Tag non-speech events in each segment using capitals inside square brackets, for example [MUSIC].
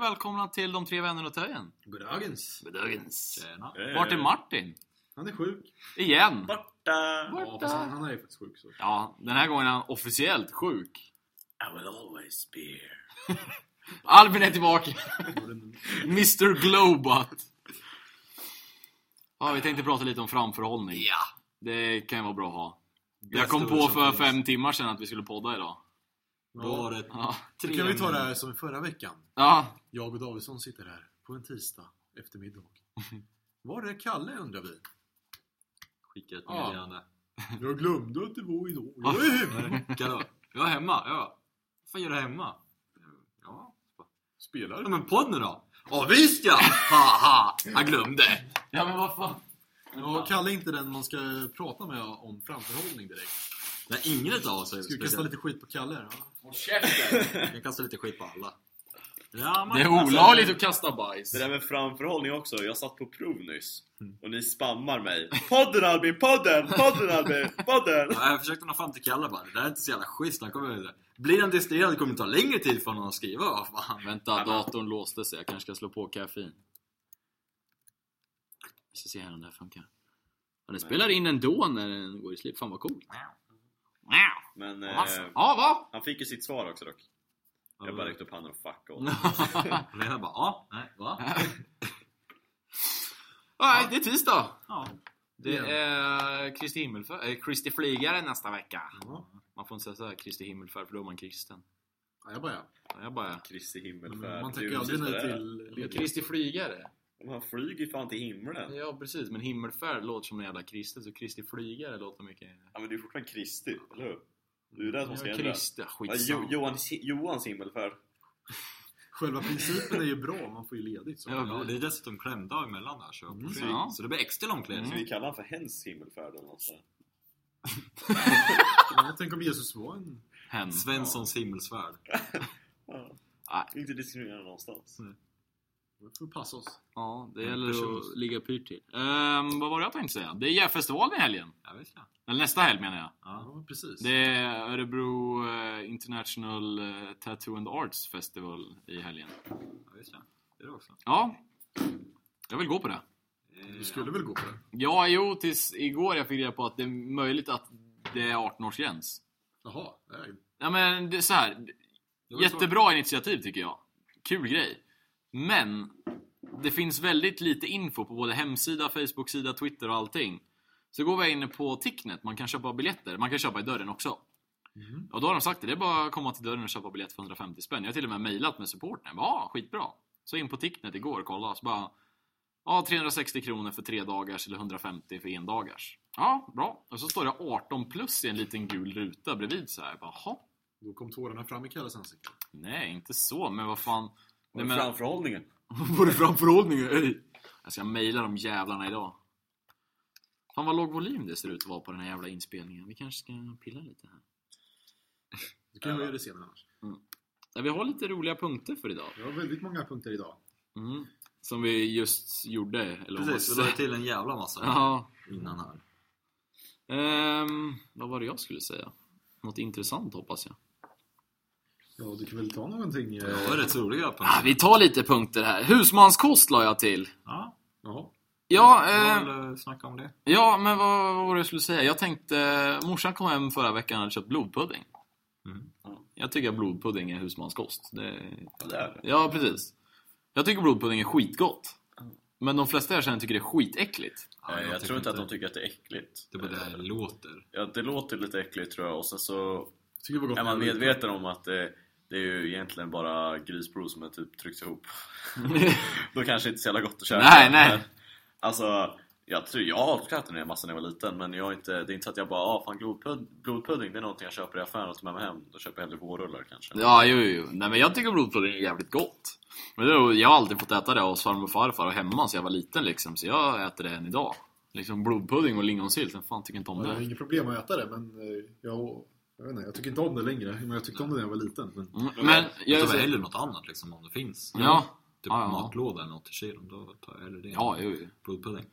välkomna till De tre vännerna och töjen. Goddagens! Bedögens. Tjena! Vart är Martin? Han är sjuk. Igen! Borta! Ja, fast han, han är ju faktiskt sjuk så. Ja, den här gången är han officiellt sjuk. I will always be here. Albin är tillbaka! [LAUGHS] Mr Globot! Ja, vi tänkte prata lite om framförhållning. Ja! Det kan ju vara bra att ha. Jag Bästa kom på ord som för finns. fem timmar sedan att vi skulle podda idag. Då var det Ja, Då kan vi ta det här som i förra veckan. ja Jag och Davidsson sitter här på en tisdag eftermiddag. [LAUGHS] Var är Kalle undrar vi? Skicka ett Ja. meddelande. Jag glömde att det var idag. Jag är [LAUGHS] hemma. Hallå? Jag är hemma, ja. Vad fan gör du hemma? Ja. Spelar Ja men podden då? Ja visst [LAUGHS] ja! Haha! Jag glömde! Ja men vad fan. Ja, Kalle är inte den man ska prata med om framförhållning direkt. Nej ingen utav oss är Ska vi kasta speciellt. lite skit på Kalle? här, Ja. Håll käften! Jag kastar lite skit på alla. ja Det är olagligt att kasta bajs. Det där med framförhållning också, jag satt på prov nyss Mm. och ni spammar mig. Podden Albin, podden, podden Albin, podden! Ja, jag försökte nå fram till Kalle bara, det där är inte så jävla schysst, han kommer ut Blir han distraherad kommer det ta längre tid för honom att skriva. Vad fan. Vänta, datorn låste sig. Jag kanske ska slå på koffein. Vi ska se här om det här funkar. Ja, den spelar in ändå när den går i slip. Fan vad coolt. Men Ja, eh, va? han fick ju sitt svar också dock. Jag bara räckte upp handen och fuck all. Lena bara, ja, nej, va? Nej, det är tisdag. Ja. Det är Kristi himmelfärd, eh, Kristi flygare nästa vecka. Ja. Man får inte säga såhär Kristi himmelfärd för då är man kristen. Ja, jag bara, Ja, Jag bara... Kristi men himmelfärd. man Det är tackar ju aldrig precis nej det där. till ledighet. Kristi flygare? Men Han flyger ju fan till himlen. Ja precis, men himmelfärd låter som en jävla kristet så Kristi flygare låter mycket... Ja men det är ju fortfarande Kristi, eller hur? Det är ju det som ska Ja, ändras. Kristi, Ja, skitsamma. jo, Johans, Johans himmelfärd. Själva principen är ju bra, man får ju ledigt. Så. Ja, Ja, det är dessutom klämdag emellan där så, Mm. Mm. Ja. Mm. så det blir extra lång klädning. Ska vi kalla honom för hens himmelfärd eller något sånt? Ja, tänk om Jesus var en... Hen. Svenssons himmelsfärd. Ja. Nej. Inte diskriminera någonstans. Vi får passa oss. Ja, det gäller att Personligt. ligga pyrt till. Ehm, vad var det jag tänkte säga? Det är Järfestivalen i helgen. Jag vet inte. Eller nästa helg menar jag. Ja, precis. Det är Örebro eh, International eh, Tattoo and Arts Festival i helgen. Jag vet inte. Det är det också. Ja, jag vill gå på det. Eh, Du skulle väl gå på det? Ja, jo, tills igår jag fick reda på att det är möjligt att det är 18-årsgräns. Jaha, nej. Ja, men det är så här. det var ju så- Jättebra initiativ tycker jag. Kul grej. Men det finns väldigt lite info på både hemsida, Facebook-sida, Twitter och allting. Så går vi in på Ticknet, man kan köpa biljetter. Man kan köpa i dörren också. Mhm. Och då har de sagt det, det är bara att komma till dörren och köpa biljett för 150 spänn. Jag har till och med mejlat med supporten. Jag bara, Ja, skitbra. Så in på Ticknet igår och kolla. Så bara, ja, 360 kronor för tre dagars eller 150 för en dagars. Ja, bra. Och så står det 18 plus i en liten gul ruta bredvid så här. Jag bara, Jaha, Då kom tårarna fram i Kalles ansikte. nej, inte så, men vad fan. Nej, Men men... framförhållningen. [LAUGHS] Var det framförhållningen? Ey. Jag ska mejla de jävlarna idag. Fan vad låg volym det ser ut att vara på den här jävla inspelningen. Vi kanske ska pilla lite här. Du kan höja det senare annars. Ja, vi har lite roliga punkter för idag. Jag har väldigt många punkter idag. Mm. Som vi just gjorde. Eller vad man Precis, vi la säger. ju till en jävla massa Ja. innan här. Ehm, vad var det jag skulle säga? Något intressant hoppas jag. Ja, du kan väl ta någonting? eh, Det var rätt roliga Ah, punkter. vi tar lite punkter här. Husmanskost la jag till. Ja, Jaha. Ja, eh, vi snacka om det. ja men vad, vad var det jag skulle säga? Jag tänkte, morsan kom hem förra veckan och hade köpt blodpudding. Mm. Jag tycker att blodpudding är husmanskost. Det, Ja, det är det. Ja, precis. Jag tycker blodpudding är skitgott. Men de flesta jag känner tycker det är skitäckligt. Ja, jag, tror inte att de tycker att det är äckligt. Det är bara det här låter. Ja, det låter lite äckligt tror jag och sen så Tycker det var gott. är man medveten om att det, det är ju egentligen bara grisprov som är typ tryckt ihop. [LAUGHS] Mm. Då kanske inte så jävla gott att käka. [LAUGHS] Nej, nej. Men, Alltså, jag tror jag har ätit den här massan när jag var liten men jag har inte, det är inte så att jag bara ah, fan blodpud, blodpudding det är någonting jag köper i affären och tar med mig hem. Då köper jag hellre vårrullar kanske. ja, jo, jo. Nej, men jag tycker blodpudding är jävligt gott. Men det, är- jag har alltid fått äta det hos farmor och farfar och hemma så jag var liten liksom. Så jag äter det än idag. Liksom blodpudding och lingonsylt, vem fan tycker inte om Ja, det är det? inget problem att äta det, men eh, jag, jag vet inte, jag tycker inte om det längre. Men jag tyckte om det när jag var liten. Men Mm, Men Jag jag... tar väl hellre något annat liksom om det finns. Ja, Typ Ja, ja. matlåda eller något i kylen, då tar jag hellre det. ja, jo, jo. Blodpudding.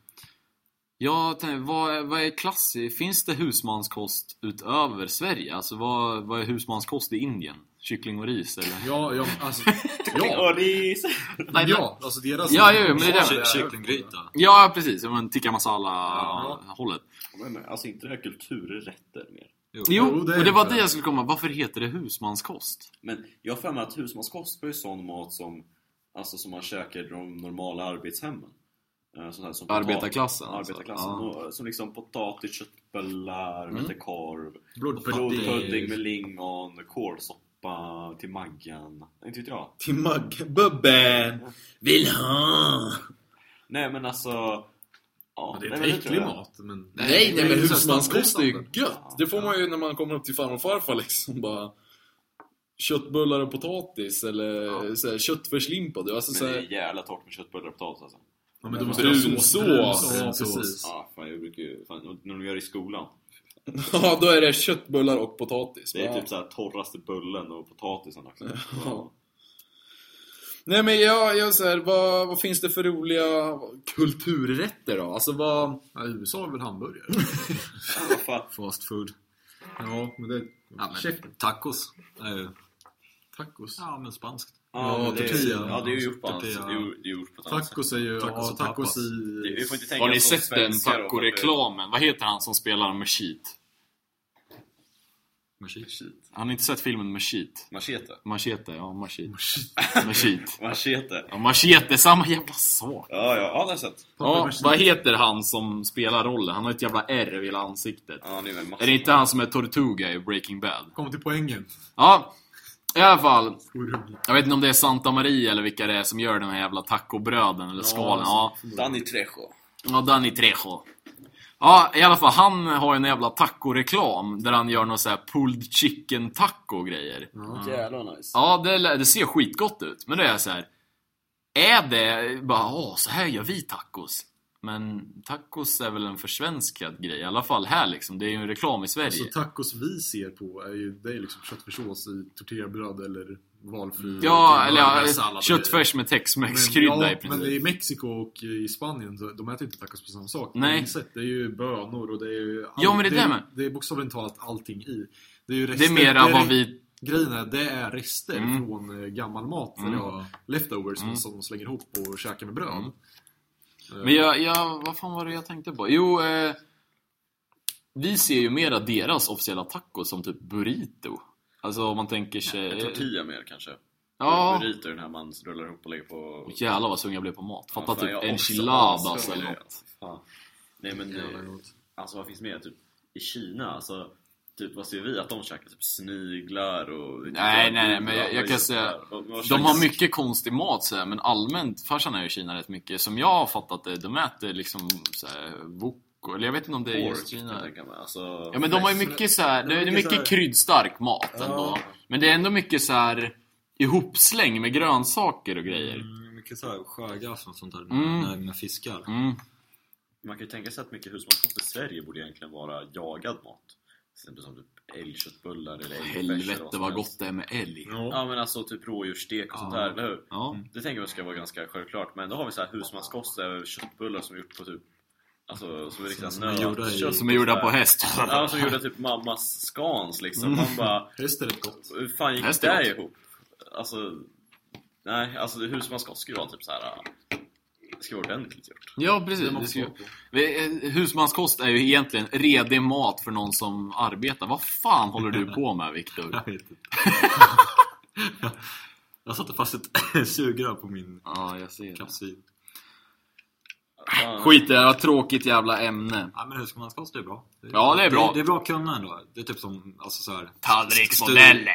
Jag tänkte, vad, är- vad är klass? Finns det husmanskost utöver Sverige? Alltså vad, vad är husmanskost i Indien? Kyckling och [LAUGHS] ris eller? Ja, ja, alltså... [LAUGHS] ja, Och ris! Nej, ja, alltså deras... Ja, jo, men det är det. Ky- Kycklinggryta. Ja, precis. Men tikka Ja. masala-hållet. Men alltså inte det här kulturrätter mer. Jo, Jo, det är och det var det. det jag skulle komma. Varför heter det husmanskost? Men jag har för mig att husmanskost var ju sån mat som, alltså, som man käkar i de normala arbetshemmen. Eh, Sånt här som potat- Arbetarklassen, alltså. Arbetarklassen. Och, som liksom potatis, köttbullar, Mm. vetekorv, Potatis. blodpudding med lingon, kålsoppa till Maggan. Inte vet jag. Till muggbubben! Vill Ah. ha! Nej men alltså... Ja, Ja, det är nej, en men tror äcklig jag. mat, men... Nej, nej men det är husmanskost är ju standard. gött! Det får man ju när man kommer upp till farmor och farfar liksom bara Köttbullar och potatis eller Ja. så här, köttfärslimpa. Du, alltså, Men så det här, är jävla torrt med köttbullar och potatis alltså. Ja, men då måste Brunsås. jag ha sås. Brunsås, Brunsås. precis. Ja, fan jag brukar ju... Fan, när de gör det i skolan. [LAUGHS] ja, då är det köttbullar och potatis. Det är va? typ så här torraste bullen och potatisen också. Ja. Nej men jag, jag så här, vad, vad finns det för roliga kulturrätter då? Alltså vad... Ja, i USA är väl hamburgare? Ja, vad fan. Fast food. Ja, men det... Ja, men, Käft, tacos. är Eh, ju- tacos. Ja, men spanskt. Ja, men det är- tortilla. ja, det är ju gjort på annat Tortilla. sätt. Det är ju- det är gjort på ett annat sätt. Tacos är ju... Tacos Tacos, och ja, tacos tapas. i... Det- Vi får inte tänka Har ni oss som sett den svenskar och- tacoreklamen? Vad heter han som spelar Machete? Machete. Har ni inte sett filmen Machete? Machete. Machete, ja Machete. Machete. Machete. Ja, machete, samma jävla sak. Ja, ja, ja, det har jag sett. Ja, vad heter han som spelar rollen? Han har ett jävla ärr över hela ansiktet. Ja, det är väl massor. Är det inte han som är Tortuga i Breaking Bad? Kom till poängen. Ja, i alla fall. Orubblig. Jag vet inte om det är Santa Maria eller vilka det är som gör den här jävla tacobröden eller skalen. Ja, Danny Trejo. ja Danny Trejo. Ja, i alla fall. Han har ju en jävla tacoreklam där han gör någon så här pulled chicken taco grejer. Jävlar nice. Ja, det, lä- det ser skitgott ut. Men då är jag så här. Är det bara, åh, så här gör vi tacos? Men tacos är väl en försvenskad grej, i alla fall här liksom. Det är ju en reklam i Sverige. Alltså tacos vi ser på är ju, det är ju liksom köttfärssås i tortillabröd eller valfri... Mm. ja, eller varm ja, sallad. köttfärs med texmex-krydda Men- i ja, Men princip. i Mexiko och i Spanien, så- de äter inte tacos på samma sak. Nej. På något sätt. Det är ju bönor och det är ju... all- Ja, men det är det med. Det är bokstavligt talat allting i. Det är ju Det rester. är mera re- vad vi... Grejen är, det är rester Mm. från eh, gammal mat. Mm. Eller ja, leftovers Mm. som de slänger ihop och käkar med bröd. Mm. Eh, Men jag, jag, vad fan var det jag tänkte på? Jo, eh, vi ser ju mera deras officiella tacos som typ burrito. Alltså om man tänker sig... Tortilla mer kanske. Ja. typ Burrito är den här man rullar ihop och lägger på... Åh, Jävlar vad sugen jag blev på mat. Fatta Ja, fan, jag typ är också enchiladas assugen eller på något. det, alltså. Fan. Nej men, jävla det, gott. alltså vad finns mer? Typ, I Kina, alltså, typ, vad ser vi? Att de käkar typ sniglar och... Nej, nej, nej, men jag- jag kan säga- De har mycket konstig mat så här, men allmänt, farsan är ju i Kina rätt mycket. Som jag har fattat det, de äter liksom så här, wok, och- eller jag vet inte om det är just typ. Kina. Alltså, Ja men de har ju mycket så här, det är mycket kryddstark mat ändå. Men det är ändå mycket så här ihopsläng med grönsaker och grejer. Mm, mycket såhär sjögräs och sånt där Mm. med, med fiskar. Mm. Man kan ju tänka sig att mycket husmanskost i Sverige borde egentligen vara jagad mat. Till exempel som typ älgköttbullar eller älgfärs eller Helvete som vad helst. gott det är med älg. Mm. Ja men alltså typ rådjursstek och sånt Ja. där, eller hur? Ja. Det tänker jag ska vara ganska självklart, men då har vi så här husmanskost, så här köttbullar som är gjort på typ Alltså som är riktigt Som är gjorda i- nötkött Som är gjorda och på så här. häst. Ja, som är gjorda typ mammas skans liksom. Man bara, Häst är rätt gott. hur fan gick Häst det är där gott. ihop? Alltså, nej, alltså husmanskost ska ju vara typ så här. äh, Det ska vara ordentligt gjort. Ja precis. Det Det måste ska... vara på. Eh, Husmanskost är ju egentligen redig mat för någon som arbetar. Vad fan håller du på med Viktor? [LAUGHS] Jag vet inte. [LAUGHS] jag satte fast ett [LAUGHS] sugrör på min Ja, jag ser det. kapsvin. Fan, Skit i det, det var ett tråkigt jävla ämne. Ja men husmanskost är bra. Ja, det är bra. Det, är bra att kunna ändå. Det är typ som, alltså så här, Tallriksmodellen!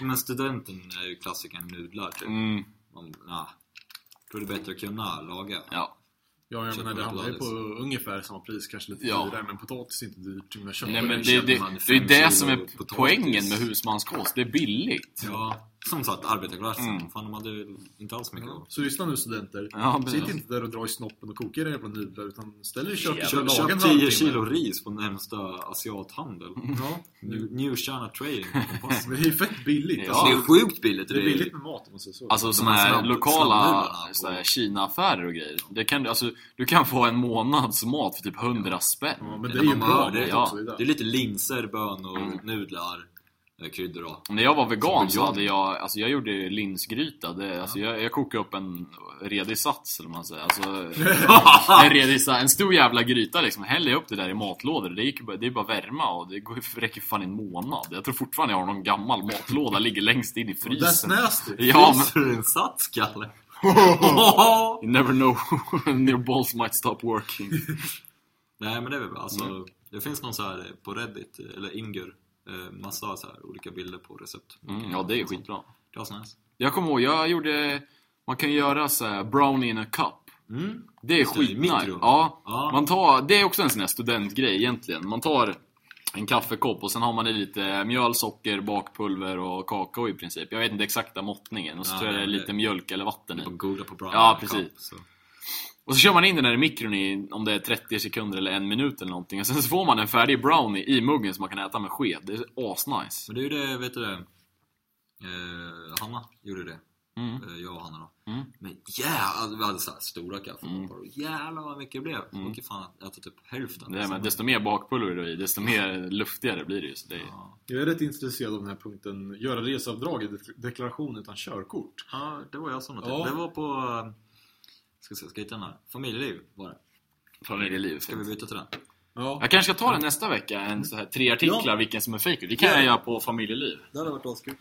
Men studenten är ju klassikern nudlar typ. Mm, Man, ja. Tror det är bättre att kunna laga. ja. Ja, jag Kött menar det med hamnar ju på potatis. ungefär samma pris, kanske lite Ja. dyrare. Men potatis är inte dyrt. Jag menar, kött Nej är men ju det, det, kött. det är ju det som är poängen med husmanskost. Det är billigt. Ja, Som sagt, arbetarklassen. Mm. Fan, de hade ju inte alls mycket då. Så lyssna nu studenter. Ja, precis. Sitt inte där och dra i snoppen och koka era jävla nudlar utan ställ er i köket och kör Köp, lagen köp en 10 halvtimme. kilo ris på närmsta asiathandel. Ja, New- New China Trading. men det är ju fett billigt. Ja. Alltså, Det är sjukt billigt. det är billigt med mat om man säger så. Alltså såna här här snabb- lokala snabbnudlarna på- så här Kina-affärer och grejer. Det kan, du- alltså, du kan få en månads mat för typ 100 spänn. ja, men det det är ju man bra hör, mat det- ja. också. Det är Det där. är lite linser, bönor, Mm. nudlar, eh, kryddor och... När jag var vegan så Som hade jag, alltså jag gjorde linsgryta. Det, alltså jag, jag kokade upp en redig sats eller vad man säger. [LAUGHS] Alltså, en, redig, sa- en stor jävla gryta liksom. Hällde jag upp det där i matlådor. Det, gick, bara- det är bara värma och det går, räcker fan i en månad. Jag tror fortfarande jag har någon gammal matlåda, ligger längst in i That's frysen. nasty. Ja, men, Finns det en sats, Kalle? you never know when your balls might stop working. Nej men det är väl bra. Alltså, Mm. Det finns någon så här eh, på Reddit, eller Imgur, eh, massa så här olika bilder på recept. Mm, ja, det är skitbra. Det var så nice. Jag kommer ihåg, jag gjorde... Man kan göra så här brownie in a cup. Mm. Det är Just det, i skitnice. mikron. Ja, Ja. man tar, det är också en sån här studentgrej egentligen. Man tar en kaffekopp och sen har man i lite mjöl, socker, bakpulver och kakao i princip. Jag vet inte exakta måttningen. Och så Ja, tror jag det är det- Mm. lite mjölk eller vatten Det är i. bara att googla på bra Ja, cup, precis. så. Och så kör man in den här i mikron i om det är 30 sekunder eller en minut eller någonting. Och sen så får man en färdig brownie i muggen som man kan äta med sked. Det är asnice. Men det är ju det, vet du det? Eh, Hanna gjorde det. Mm. Eh, jag och Hanna då. Mm. Men jävlar, vi hade så här stora kaffekoppar Mm. och jävlar vad mycket det blev. Mm. Folk är fan att äta typ hälften. Det är, liksom. men desto mer bakpulver du har i, desto mer luftigare blir det ju. Så det är... Ja. Jag är rätt intresserad av den här punkten. Göra reseavdrag i dek- deklaration utan körkort. ja, det var jag som noterade. Ja. Det var på... eh, Ska, se, ska jag hitta den här? Familjeliv var det. Familjeliv. Ska vi byta till den? Ja, Jag kanske ska ta det nästa vecka, en så här tre artiklar, vilken som är fake. Det kan jag göra på familjeliv. Det hade varit askul.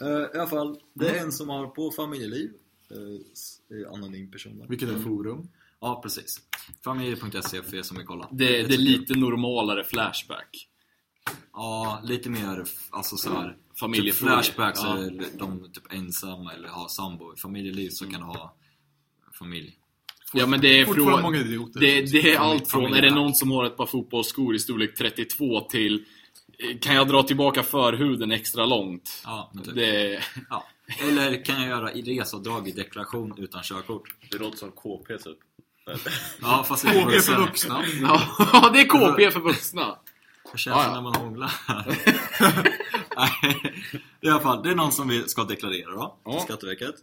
Eh, I alla fall, det Mm. är en som har på familjeliv. eh, s- eh, anonym person där. vilket är forum. Ja, precis. Familj.se E för er som vill kolla. Det, det är lite normalare Flashback. Ja, lite mer f- alltså så här. Typ Familjefrågor. flashbacks Ja. är de typ ensamma eller har sambo. I Familjeliv så kan du ha familj. ja men det är Fortfarande många från... idioter. Det, det är allt från, är det familjeback. någon som har ett par fotbollsskor i storlek 32 till eh, kan jag dra tillbaka förhuden extra långt? Ja, men typ. Det, ja. Eller kan jag göra i reseavdrag i deklaration utan körkort? Det låter som KP typ. Ja, fast det KP vuxen. för vuxna. [LAUGHS] ja, det är KP för vuxna. Vad känns Ja, det ja. när man hånglar? [LAUGHS] Nej, I alla fall, det är någon som vill, ska deklarera då, till Ja. Skatteverket.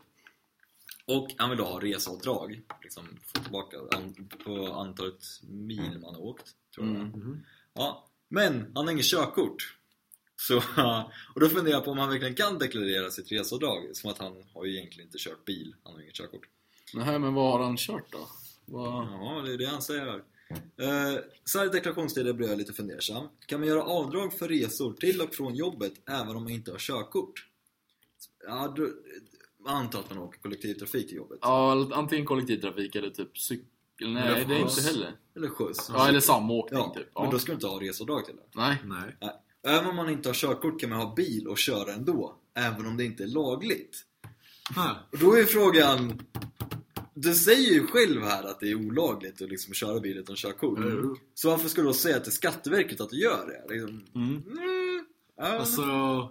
Och han vill då ha reseavdrag. Liksom få tillbaka an, på antalet mil man har åkt. Tror jag. Mm, Mhm. Ja, men han har inget körkort. Så, och då funderar jag på om han verkligen kan deklarera sitt reseavdrag. Som att han har ju egentligen inte kört bil. Han har inget körkort. Nej, men vad har han kört då? Ja, det är det han säger här. Eh, så här i deklarationstider blev jag lite fundersam. Kan man göra avdrag för resor till och från jobbet även om man inte har körkort? Ja, då, jag antar att man åker kollektivtrafik till jobbet. Ja, antingen kollektivtrafik eller typ cykel. Nej, Eller det är inte skjuts. heller. Eller skjuts. Ja, eller samåkning Ja, typ. Men då Ja. ska du inte ha reseavdrag till det. Nej. Nej. Även om man inte har körkort kan man ha bil och köra ändå. Även om det inte är lagligt. Nej. Och då är frågan... Du säger ju själv här att det är olagligt att liksom köra bil utan körkort. Mm. Så varför ska du då säga till Skatteverket att du gör det? Liksom, mm, ja, Alltså,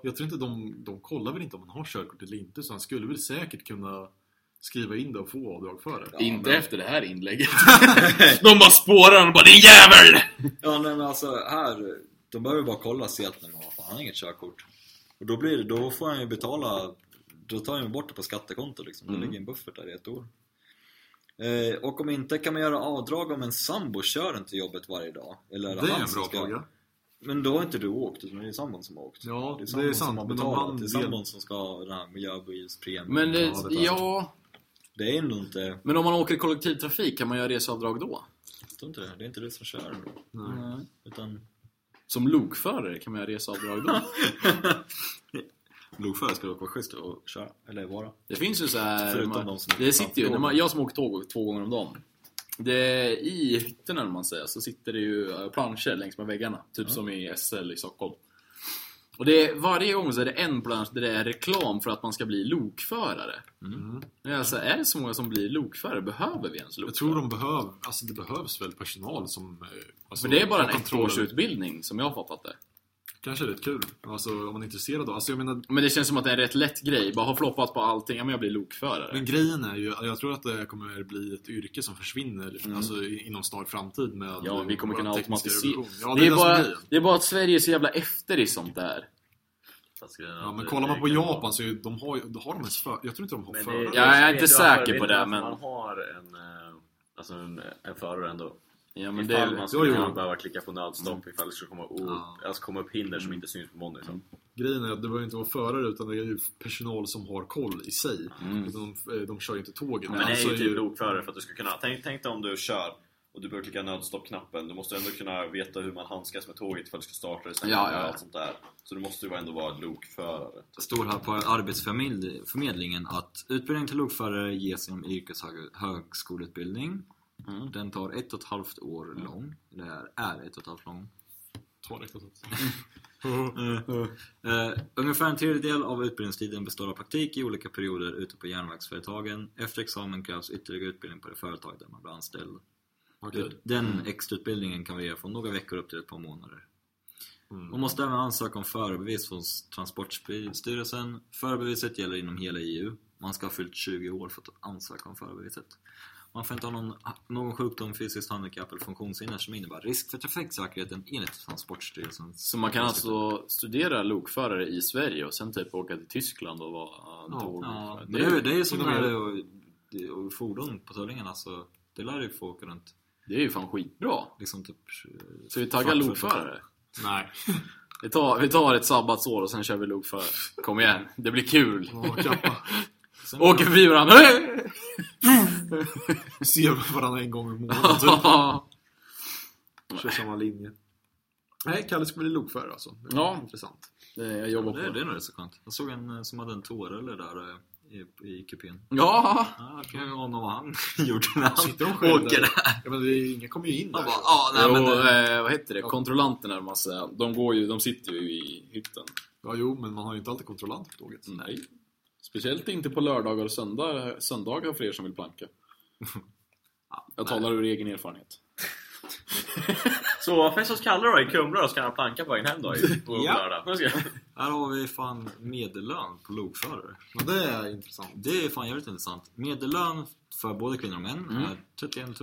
jag tror inte de, de kollar väl inte om man har körkort eller inte, så han skulle väl säkert kunna skriva in det och få avdrag för det. Ja, Inte men- efter det här [LAUGHS] inlägget. [LAUGHS] De bara spårar honom och bara 'Din jävel!' Ja, nej, men alltså här, de behöver bara kolla och se att nej, men vad fan, han har inget körkort. Och då, blir det, då får han ju betala, då tar han ju bort det på skattekonto liksom. Det Mm. ligger en buffert där i ett år. Eh, och om inte kan man göra avdrag om en sambo kör inte till jobbet varje dag? Eller Det är är det, en han bra som ska... fråga. Men då har inte du åkt, utan det är ju sambon som har åkt. Ja, det är det är sambon som sant. har Men om betalat. han Det är vet... sambon som ska ha den här miljöbilspremien. Men, det, och allt där. ja, Det är ändå inte... men om man åker kollektivtrafik, kan man göra reseavdrag då? Jag tror inte det. Det är inte du som kör. Nej. Mm. Utan... Som lokförare, kan man göra reseavdrag då? Lokförare ska dock vara schysst och köra. Eller vara. Det finns ju så här, Förutom man, de som- Det sitter ju, ja, när man, tåg. jag som åker tåg två gånger om dagen. Det, I hytterna, om man säger, så sitter det ju eh, planscher längs med väggarna. Typ som i SL i Stockholm. Och det, är- varje gång så är det en plansch där det är reklam för att man ska bli lokförare. Mm. Men alltså, är det så många som blir lokförare? Behöver vi ens lokförare? Jag tror de behöver, alltså det behövs väl personal som... eh, Alltså, För det är bara har en kontroll över- ettårsutbildning som jag har fattat det. kanske är rätt kul. Alltså om man är intresserad av. Alltså jag menar, Men det känns som att det är en rätt lätt grej. Bara ha floppat på allting. Ja, men jag blir lokförare. men grejen är ju, jag tror att det här kommer bli ett yrke som försvinner Mm. alltså, i- inom snar framtid med Ja, vi kommer vår kunna tekniska automatisera- revolution. Ja, det, är det bara, som är grejen. det är bara att Sverige är så jävla efter i sånt där. Fast grejen är Ja, att men det- kollar man det på kan vara- Japan så är ju- de har ju, har de ens för, jag tror inte de har Men förare. det- Ja, jag är inte vet du varför- säker vet på du det, varför men- Man har en, eh, alltså en, en förare ändå. Ja, Men men ifall det, det, man skulle jo, jo. kunna behöva klicka på nödstopp ifall det skulle komma, upp, Ja. Mm. alltså komma upp hinder som inte syns på monitorn. Grejen är att det behöver inte vara förare utan det är ju personal som har koll i sig. Mm. Utan De, de kör ju inte tåget. Men det är Alltså ju typ lokförare för att du ska kunna... Tänk, tänk dig om du kör och du behöver klicka nödstoppknappen. Du måste ändå kunna veta hur man handskas med tåget ifall du ska starta det stänga Ja, det och ja, ja. allt sånt där. Så du måste ju ändå vara lokförare. står här på Arbetsförmedlingen att utbildning till lokförare ges inom yrkeshögskoleutbildning. Den tar ett och ett halvt år lång. Det här är ett och ett halvt lång. Ta det, ta det. Eh, ungefär en tredjedel av utbildningstiden består av praktik i olika perioder ute på järnvägsföretagen. Efter examen krävs ytterligare utbildning på det företag där man blir anställd. Typ. Den extrautbildningen kan variera från några veckor upp till ett par månader. Mm. Man måste även ansöka om förarbevis från Transportstyrelsen. Förarbeviset gäller inom hela EU. Man ska ha fyllt 20 år för att ansöka om förarbeviset. Man får inte ha någon, någon sjukdom, fysiskt handikapp eller funktionshinder som innebär risk för trafiksäkerheten enligt Transportstyrelsens så man kan alltså studera lokförare i Sverige och sen typ åka till Tyskland och vara äh, Ja. tåg. Ja, det det är, är, det är ju som inom när det är och, det- och fordon på Tullinge alltså. Det lär ju få åka runt. det är ju fan skitbra. Liksom typ... eh, Så vi taggar Fuck, lokförare? Nej. Vi tar, vi tar ett sabbatsår och sen kör vi lokförare. Kom igen, det blir kul. Ja, [LAUGHS] kappa. sen- Åker förbi [LAUGHS] varandra. Vi ser varandra en gång i månaden typ. Kör samma linje. Nej, Kalle ska bli lokförare alltså. Det är Ja. Intressant. Det- Jag jobbar på Det, det det. är nog rätt så skönt. Jag såg en eh, som hade en tåröl där eh, i, i kupén. Ja, Ja, jag kan ju ana vad han [LAUGHS] gjorde när han Sitter de själv åker där? där. Ja, men det är, inga kommer ju in Han där. bara, ah, nej, men jo, det, eh, vad heter det? Kontrollanterna, man säger. De, går ju, de sitter ju i hytten. Ja, jo, men man har ju inte alltid kontrollant på tåget. Mm. Nej. Speciellt inte på lördagar och söndag, söndagar för er som vill [LAUGHS] planka. Jag talar ur egen erfarenhet. Så Fessos Kalle då i Kumla då, ska han planka på vägen hem då? i- På Ja. lördag. Nu ska jag- här har vi fan medellön på lokförare. Men det är intressant. Det är fan jävligt intressant. Medellön för både kvinnor och män Mm. är 31 000.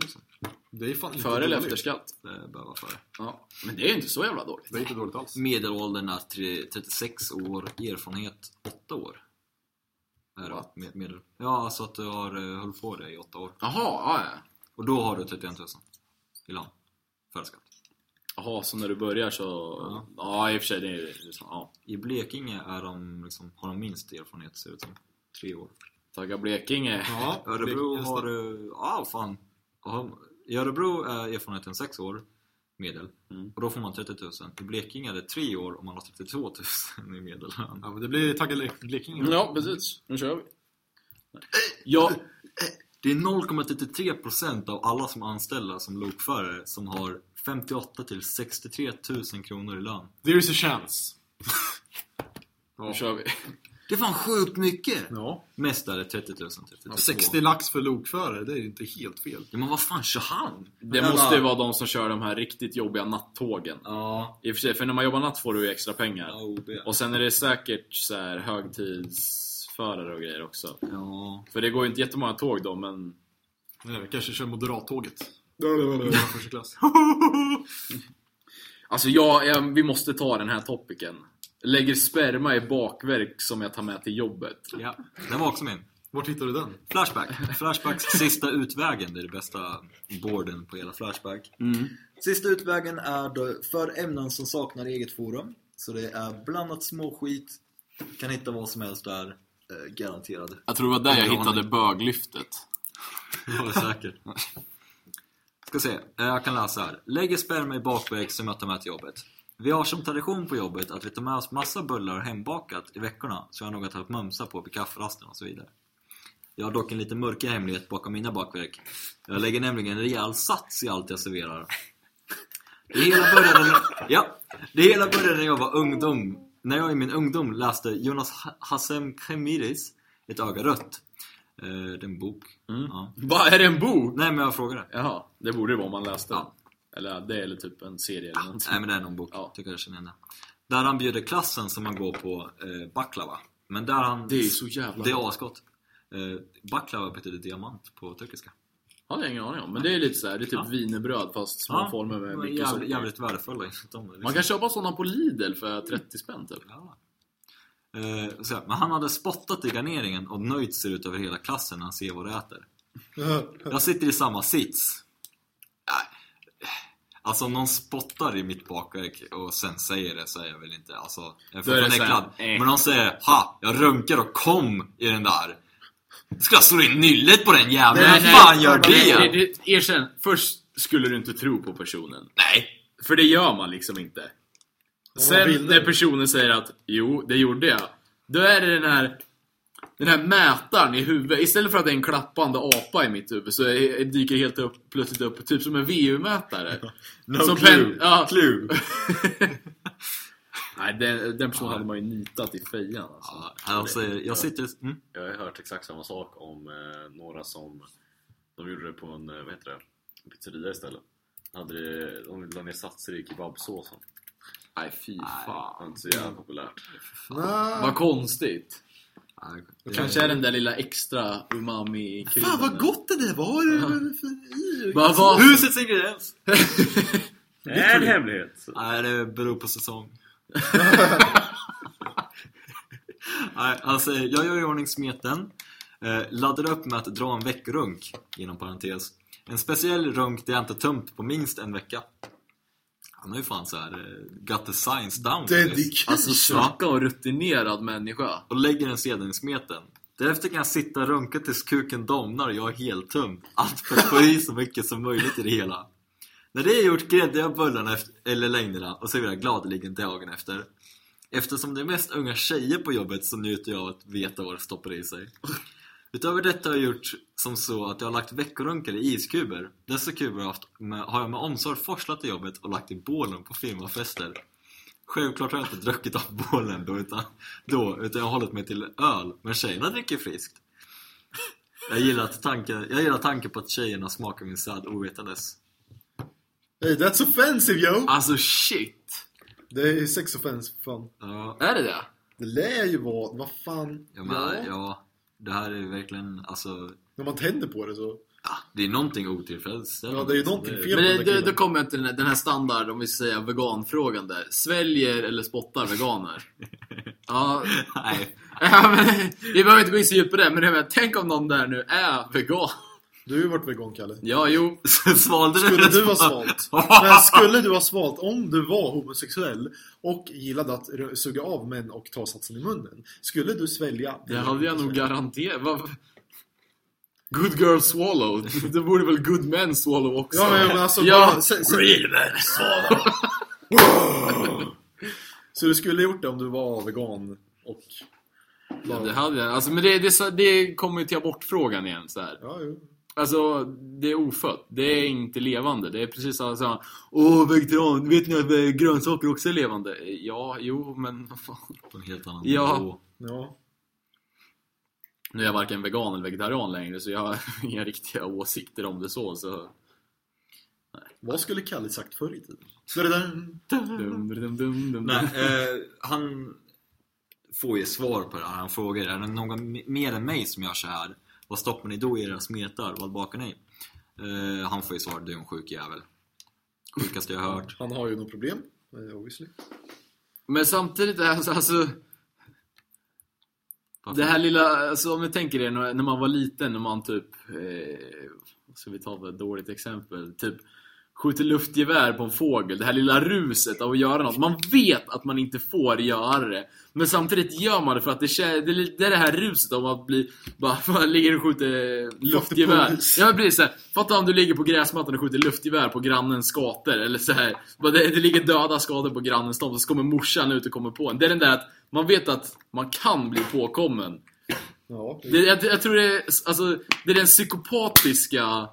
Det är fan inte Före eller dåligt. efter skatt. Det behöver vara för. Ja. Men det är ju inte så jävla dåligt. Det är inte dåligt alls. Medelåldern är tre- 36 år, erfarenhet 8 år. Är det, What? med, medel. Ja, alltså att du har eh, hållit på det i 8 år. Jaha, ja, ja. Och då har du 31 000 i lön. Före skatt. Jaha, så när du börjar så... Ja, Ja. i och för sig. Det är, det är, så- ja. I Blekinge är de, liksom, har de minst erfarenhet ser det ut som. 3 år. Tagga Blekinge. [LAUGHS] Ja, Örebro det- har du... Ja, ah, fan. Jaha, I Örebro är erfarenheten 6 år, medel. Mm. Och då får man 30 000. I Blekinge är det 3 år och man har 32 000 i medellön. Ja, men det blir tagga Le- Blekinge. Ja, precis. Nu kör vi. Ja, Det är 0,33% av alla som är anställda som lokförare som har 58 till 63 000 kronor i lön. There is a chance. nu kör [LAUGHS] vi. Det är fan sjukt mycket! Ja. alltså. Mest är det 30 000 till 32 60 lax för lokförare, det är ju inte helt fel. Ja, men vad fan, Köpenhamn? Det måste ju vara de som kör de här riktigt jobbiga nattågen. Ja, I och för sig, för när man jobbar natt får du ju extra pengar. AOB. Och sen är det säkert så här högtidsförare och grejer också. Ja. För det går ju inte jättemånga tåg då, men... Nej, vi kanske kör moderattåget. Första klass. Alltså jag, jag, vi måste ta den här topiken. Lägger sperma i bakverk som jag tar med till jobbet. ja. Den var också min. Vart hittar du den? Flashback. Flashbacks sista utvägen, det är det bästa boarden på hela Flashback. Sista utvägen är då för ämnen som saknar eget forum. Så det är blandat småskit, kan hitta vad som helst där, eh, garanterad. Jag tror det var där jag Underhållning. hittade böglyftet. Jag är säker. Ska se, eh, jag kan läsa här. Lägger sperma i bakväg som jag tar med till jobbet. Vi har som tradition på jobbet att vi tar med oss massa bullar hembakat i veckorna, så jag har något att mumsa på vid kafferasten och så vidare. Jag har dock en lite mörkare hemlighet bakom mina bakverk. Jag lägger nämligen en rejäl sats i allt jag serverar. Det hela började, ja, det hela började när jag var ungdom. När jag i min ungdom läste Jonas Ha- Hassem Khemiris Ett öga rött. Eh, det är en bok. Ja. Va, är det en bok? Nej men jag frågade. Jaha, det borde det vara om man läste den. Ja. Eller det, eller typ en serie eller någonting. Nej men det är någon bok. Ja. Tycker jag känner igen det. Där han bjuder klassen som man går på eh, baklava. Men där han... Det är så jävla... Det är asgott. Eh, baklava betyder diamant på turkiska. Ja, det har jag ingen aning om. Men det är lite så här, det är typ Ja. wienerbröd fast små Ja, former med De är mycket socker. jävligt, jävligt värdefulla. enligt dem, Liksom. Man kan köpa sådana på Lidl för 30 spänn typ. Ja. Eh, så här, men han hade spottat i garneringen och nöjt sig ut över hela klassen när han ser vad du äter. Jag sitter i samma sits. Nej. Alltså om någon spottar i mitt bakverk och sen säger det så är jag väl inte, alltså, jag är Då är det fortfarande så här, äcklad. eh. Men någon säger 'Ha! Jag runkar och kom i den där' Ska jag slå in nyllet på den jäveln? Vad fan gör det? Nej, det, det, erkänn, först skulle du inte tro på personen. Nej! För det gör man liksom inte. Sen när personen säger att jo, det gjorde jag. Då är det den här, den här mätaren i huvudet. Istället för att det är en klappande apa i mitt huvud så är, dyker det helt upp, plötsligt upp, typ som en VU-mätare. [LAUGHS] No Som clue. pen- ja. clue. [LAUGHS] Nej, den, den personen hade man ju nitat i fejan alltså. Ja, han säger, jag sitter i- mm. Jag har ju hört exakt samma sak om eh, några som De gjorde det på en, eh, vad heter det? En pizzeria istället hade det, De la ner satser i kebabsåsen Nej, fy fan. Det var inte så jävla populärt Vad konstigt. Nej, Det kanske är den där lilla extra umami Fan vad gott det där var! Vad var... Husets ingrediens! Det är en hemlighet! Nej, det beror på säsong. Nej, han säger, jag gör i ordning smeten, eh, laddar upp med att dra en veckorunk, inom parentes. En speciell runk där jag inte tömt på minst en vecka. Han har ju fan så här eh, got the science down. Dedication. Alltså snacka om rutinerad människa. Och lägger den sedan i smeten. Därefter kan jag sitta och runka tills kuken domnar och jag är heltömd. Allt för att få i så mycket som möjligt i det hela. När det är gjort gräddar jag bullarna efter, eller längderna och serverar gladeligen dagen efter. Eftersom det är mest unga tjejer på jobbet så njuter jag av att veta vad det stoppar i sig. Utöver detta har jag gjort som så att jag har lagt veckorunkar i iskuber. Dessa kuber har jag haft med, har jag med omsorg forslat till jobbet och lagt i bålen på firmafester. Självklart har jag inte druckit av bålen då utan, då, utan jag har hållit mig till öl, men tjejerna dricker friskt. Jag gillar, att tanken, jag gillar tanken på att tjejerna smakar min säd ovetandes. Hey, that's offensive yo! Ah. Alltså shit. Det är sex offense, fan. Ja, Är det det? Det lär ju vara, vad fan. jag menar, ja. det här är ju verkligen, alltså, När man tänder på det så. ja, det är någonting Ja, otillfredsställande. det är ju någonting fel Men på det, den där det, killen. då kommer jag till den här, den här standard, om vi säger veganfrågan där. Sväljer eller [LAUGHS] spottar veganer? Ja, [LAUGHS] Nej, ja men, [LAUGHS] vi behöver inte gå in så djupt på det, men jag menar, tänk om någon där nu är vegan. Du har ju varit vegan, Kalle. Ja, jo. svalde Skulle du ha svalt? Nej, skulle du ha svalt om du var homosexuell och gillade att rö- suga av män och ta satsen i munnen? Skulle du svälja? Det hade jag nog garanterat. Vad- Good girl swallow. Det borde väl good men swallow också? Ja, men, men alltså... Ja. bara- sen, sen, så du skulle ha gjort det om du var vegan och... Ja, det hade jag. Alltså, men det, det, är så- det kommer ju till abortfrågan igen så här. Ja, jo. Alltså, det är ofött. Det är inte levande. Det är precis samma sak. Åh, vegetarian. Vet ni att eh, grönsaker också är levande? Eh, Ja, jo, men vad fan. På en helt annan Ja. nivå. Ja. Nu är jag varken vegan eller vegetarian längre, så jag har [LAUGHS] inga riktiga åsikter om det så. så. Vad skulle Kalle sagt förr i tiden? Så det där... Dum, dum, dum, dum. Nej, eh, han får ju svar på det här. Han frågar är det någon m- mer än mig som gör så här? Vad stoppar ni då i era smetar? Vad bakar ni? Eh, han får ju svar, du är en sjuk jävel. Sjukaste jag har [LAUGHS] hört. Han har ju något problem. eh, Obviously. Men samtidigt, är alltså, alltså det här lilla, alltså, om jag tänker er när när man var liten, när man typ, eh, vad ska vi ta för ett dåligt exempel, typ skjuter luftgevär på en fågel, det här lilla ruset av att göra något. Man vet att man inte får göra det, men samtidigt gör man det för att det, kä- det är li- det är det här ruset om att bli, bara man ligger och skjuter eh, luftgevär. Luftpuls. Ja men precis såhär, fatta om du ligger på gräsmattan och skjuter luftgevär på grannens skator eller så här. Bara Det, det ligger döda skador på grannens tomt, så kommer morsan ut och kommer på en. Det är den där att man vet att man kan bli påkommen. Ja. Det, jag, jag tror det är, alltså, det är den psykopatiska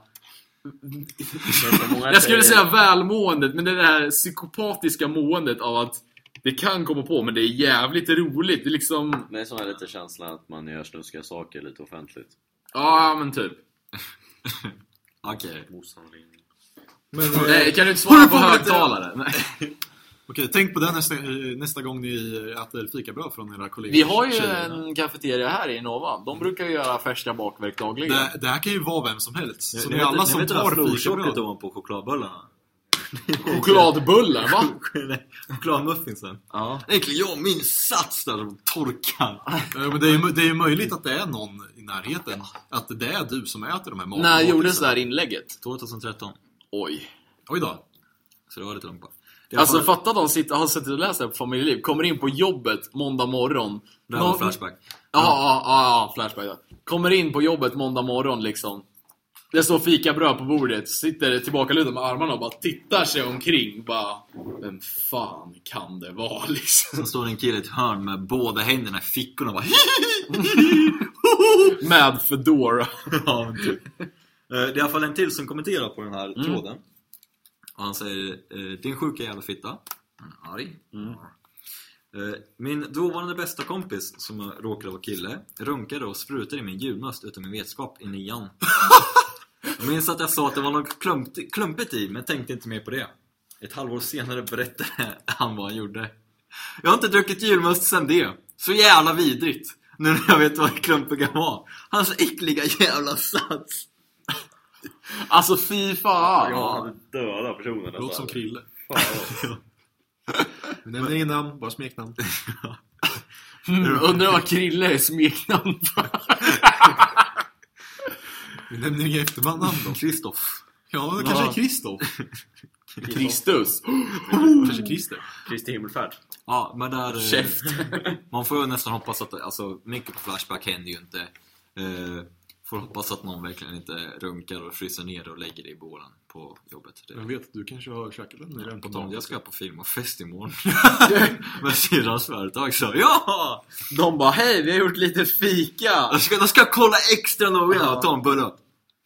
jag skulle säga välmåendet, men det är det här psykopatiska måendet av att det kan komma på, men det är jävligt roligt. Det är liksom... Men sån här lite känslan att man gör snuskiga saker lite offentligt Ja, men typ. Okej. Morsan ringer Men, eh, Nej, kan du inte svara på högtalare? Nej. Okej, tänk på det nästa, eh, nästa gång ni äter fikabröd från era kollegor. Vi har ju tjejerna. en kafeteria här i Nova. De brukar ju göra färska bakverk dagligen. Det, det här kan ju vara vem som helst. Så Ni ni alla vet- ni som vet det där tar florsockret fikabröd. ovanpå chokladbullarna? [LAUGHS] Chokladbullar, va? Nej, Chokladmuffinsen. Ja. Egentligen jag min sats där som torkar. Eh, Men det är ju det är ju möjligt att det är någon i närheten. Att det är du som äter de här mat- När gjordes det matlisarna. här inlägget? 2013. Oj. Oj då. Så det var lite långt bak. Det är Alltså i alla fall- fatta de sitter, har suttit och läst det här på Familjeliv, kommer in på jobbet måndag morgon. Det här var Någon- Flashback. Ja, ja, ja, ja, Flashback. Ja. Kommer in på jobbet måndag morgon liksom. Det står fikabröd på bordet, sitter tillbakalutad med armarna och bara tittar sig omkring. Bara, vem fan kan det vara [LAUGHS] liksom? Sen står det en kille i ett hörn med båda händerna i fickorna och bara Med Fedora. [LAUGHS] Ja, men typ. Eh, Det är i alla fall en till som kommenterar på den här tråden. Mm. Och han säger eh, Din sjuka jävla fitta. Han är arg. Eh, Min dåvarande bästa kompis, som råkade vara kille, runkade och sprutade i min julmust utan min vetskap i [LAUGHS] nian. Jag minns att jag sa att det var något klumpt- klumpigt i, men tänkte inte mer på det. Ett halvår senare berättade han vad han gjorde. Jag har inte druckit julmust sen det. Så jävla vidrigt. Nu när jag vet vad det klumpiga var. Hans äckliga jävla sats. Alltså fy fan. Jag hade dödat personen alltså. Låter som Krille. Fan, vad- Vi nämner inga namn, bara smeknamn. Mm, undrar vad Krille är smeknamn för. [LAUGHS] Vi nämner inga efternamn då. Kristoff. Ja, det kanske Ja. är Kristoff. Mm. Kristus. kanske Christer. Kristi himmelfärd. Ja, men där... eh, Käft. Man får ju nästan hoppas att... Alltså, mycket på Flashback händer ju inte. Eh, får hoppas att någon verkligen inte runkar och fryser ner och lägger det i bålen på jobbet. Det Jag vet, du kanske har käkat den redan på På tal, dagen. jag ska på film och fest [LAUGHS] imorgon. Med syrrans företag så ja! De bara, hej vi har gjort lite fika. Jag ska, jag ska kolla extra noga och ta en bulle.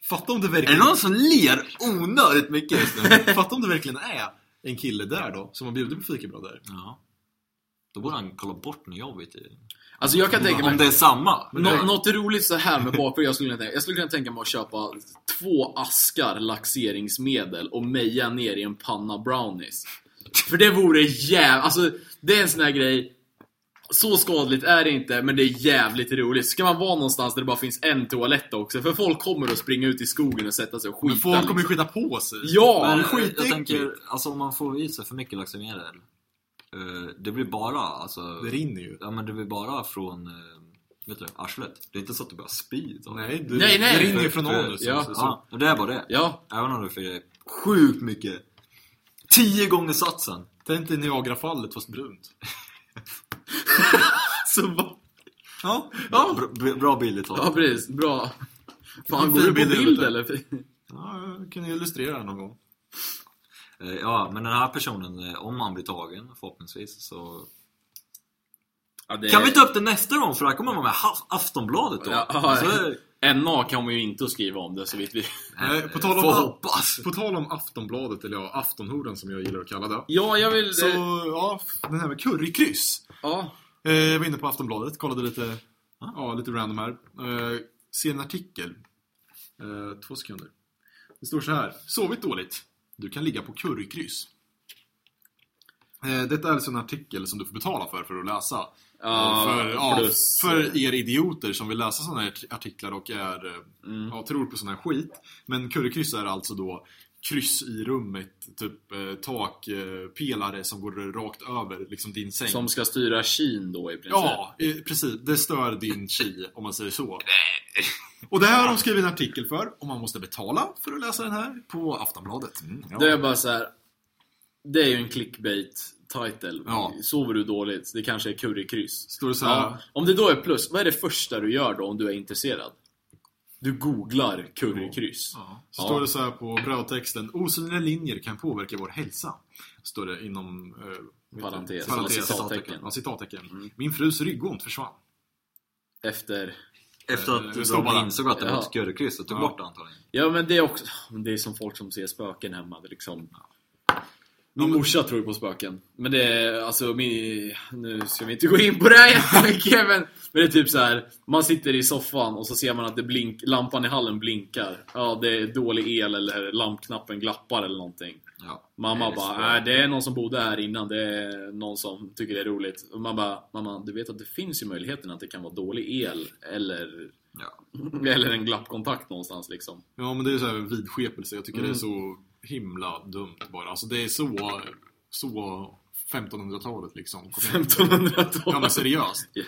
Fatta om det Är det verkligen... någon som ler onödigt mycket just [LAUGHS] nu? Fatta om det verkligen är en kille där då, som har bjudit på fikabröd där. Ja. Då borde han kolla bort när jag vet det. Alltså jag kan tänka mig. Om det är samma. Nå något roligt så här med bakgrund, jag skulle, kunna tänka, jag skulle kunna tänka mig att köpa två askar laxeringsmedel och meja ner i en panna brownies. För det vore jävligt, alltså det är en sån här grej, så skadligt är det inte, men det är jävligt roligt. Ska man vara någonstans där det bara finns en toalett också, för folk kommer att springa ut i skogen och sätta sig och skita. Men folk kommer ju liksom. skita på sig. Ja! Men skitäckligt. jag tänker, alltså om man får i sig för mycket laxomedel. eh, Det blir bara, alltså. Det rinner ju. Ja men det blir bara från, eh, vet du, arslet. Det är inte så att du börjar spy. då. Nej, du, Nej, nej, det rinner ju för- från för- anus. ja. alltså, så- Ja, och det är bara det. Ja, Även om du får i dig sjukt mycket. Tio gånger satsen. Tänk dig Niagarafallet fast brunt. Så va? Ja. Ja. Bra, bra bild ja precis, bra. Fan, går Fin du på bild i bild huvudet. eller? ja jag kan illustrera det någon gång. Eh, Ja, men den här personen, eh, om han blir tagen förhoppningsvis så... Ja, Eh. det... Kan vi ta upp det nästa gång? För det här kommer vara med Ha- Aftonbladet då. Ja, ja. Så eh, [LAUGHS] är- NA kommer ju inte att skriva om det så vitt vi... Nej, på tal om- Får hoppas! På tal om Aftonbladet, eller ja, Aftonhoran som jag gillar att kalla det. Ja, jag vill... Så, ja, den här med currykryss. Ja. Eh, jag var inne på Aftonbladet, kollade lite, Ah. ja, lite random här. Eh, ser en artikel. Eh, två sekunder. Det står så här. Sovit dåligt? Du kan ligga på currykryss. Eh, detta är alltså en artikel som du får betala för, för att läsa. Ja, för, ja, Ah, plus- för er idioter som vill läsa sådana här artiklar och är, Mm. eh, ja, tror på sån här skit. Men currykryss är alltså då kryss i rummet, typ eh, takpelare eh, pelare som går rakt över liksom din säng. Som ska styra Kina då i princip. Ja, eh, precis. Det stör din chi, om man säger så. Och det här har de skrivit en artikel för, och man måste betala för att läsa den här på Aftonbladet. Mm, ja. Det är bara så här. Det är ju en clickbait title. Ja. Sover du dåligt? Det kanske är currykryss. Står det så här, Ja. Om det då är plus, vad är det första du gör då om du är intresserad? Du googlar currykryss. Ja. Så Ja. står det så här på brödtexten. Osynliga linjer kan påverka vår hälsa. Står det inom... Eh, vet Parentes, Mm. du, parentes, eller citattecken. Ja, citattecken. Min frus ryggont försvann. Efter... Efter Eh, att det står bara- de insåg att det var Ja. ett skurkkryss och tog Ja. bort det antagligen. Ja men det är också... Det är som folk som ser spöken hemma. Det är liksom... Min men- morsa tror på spöken. Men det är, alltså min... Nu ska vi inte gå in på det [LAUGHS] här jättemycket men... Men det är typ så här. man sitter i soffan och så ser man att det blink, lampan i hallen blinkar. Ja, det är dålig el eller lampknappen glappar eller någonting. Ja. Mamma Nej, det är bara, svårt. nej det är någon som bodde här innan, det är någon som tycker det är roligt. Och man bara, mamma du vet att det finns ju möjligheten att det kan vara dålig el eller, Ja. eller en glappkontakt någonstans liksom. Ja, men det är så här vidskepelse. Jag tycker Mm. det är så himla dumt bara. Alltså det är så, så 1500-talet liksom. Kom igen. 1500-tal. Ja men seriöst. Ja.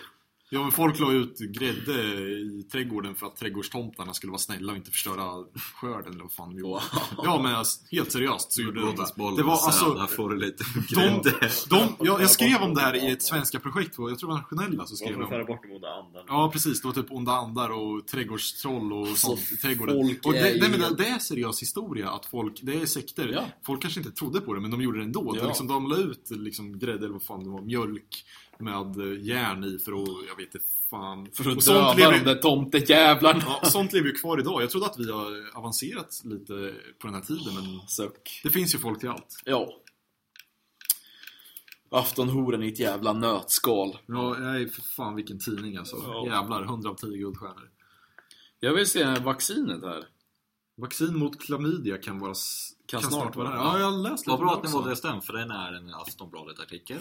Ja men folk la ut grädde i trädgården för att trädgårdstomtarna skulle vara snälla och inte förstöra skörden eller vad fan de gjorde. Ja men alltså, helt seriöst så gjorde de Låt det. oss bollen Det var alltså, här får du lite de, grädde. [LAUGHS] de, jag, jag skrev om det här i ett svenska projekt, jag tror det var nationella som skrev Varför om föra bort dem under andan? Ja precis, det var typ onda andar och trädgårdstrolls och sånt i trädgården. folk Och är det, ju- det, men det är seriös historia, att folk, det är sekter. Ja. Folk kanske inte trodde på det, men de gjorde det ändå. Ja. De, liksom, de la ut liksom, grädde eller vad fan det var, mjölk med eh, järn i för att, jag vet inte fan. För och att sånt döda de lever, där tomtejävlarna. ja, sånt lever ju kvar idag. Jag trodde att vi har avancerat lite på den här tiden, men Suck. det finns ju folk till allt. Ja. Aftonhoran i ett jävla nötskal. Ja, nej för fan vilken tidning alltså. Ja. Jävlar, 100 av 10 guldstjärnor. Jag vill se det här vaccinet här. Vaccin mot klamydia kan, vara, s- Kan kan, snart snart, vara vara. här. Ja, jag har läst Vad om det bra att ni också. valde just den, för den är en Aftonbladet-artikel.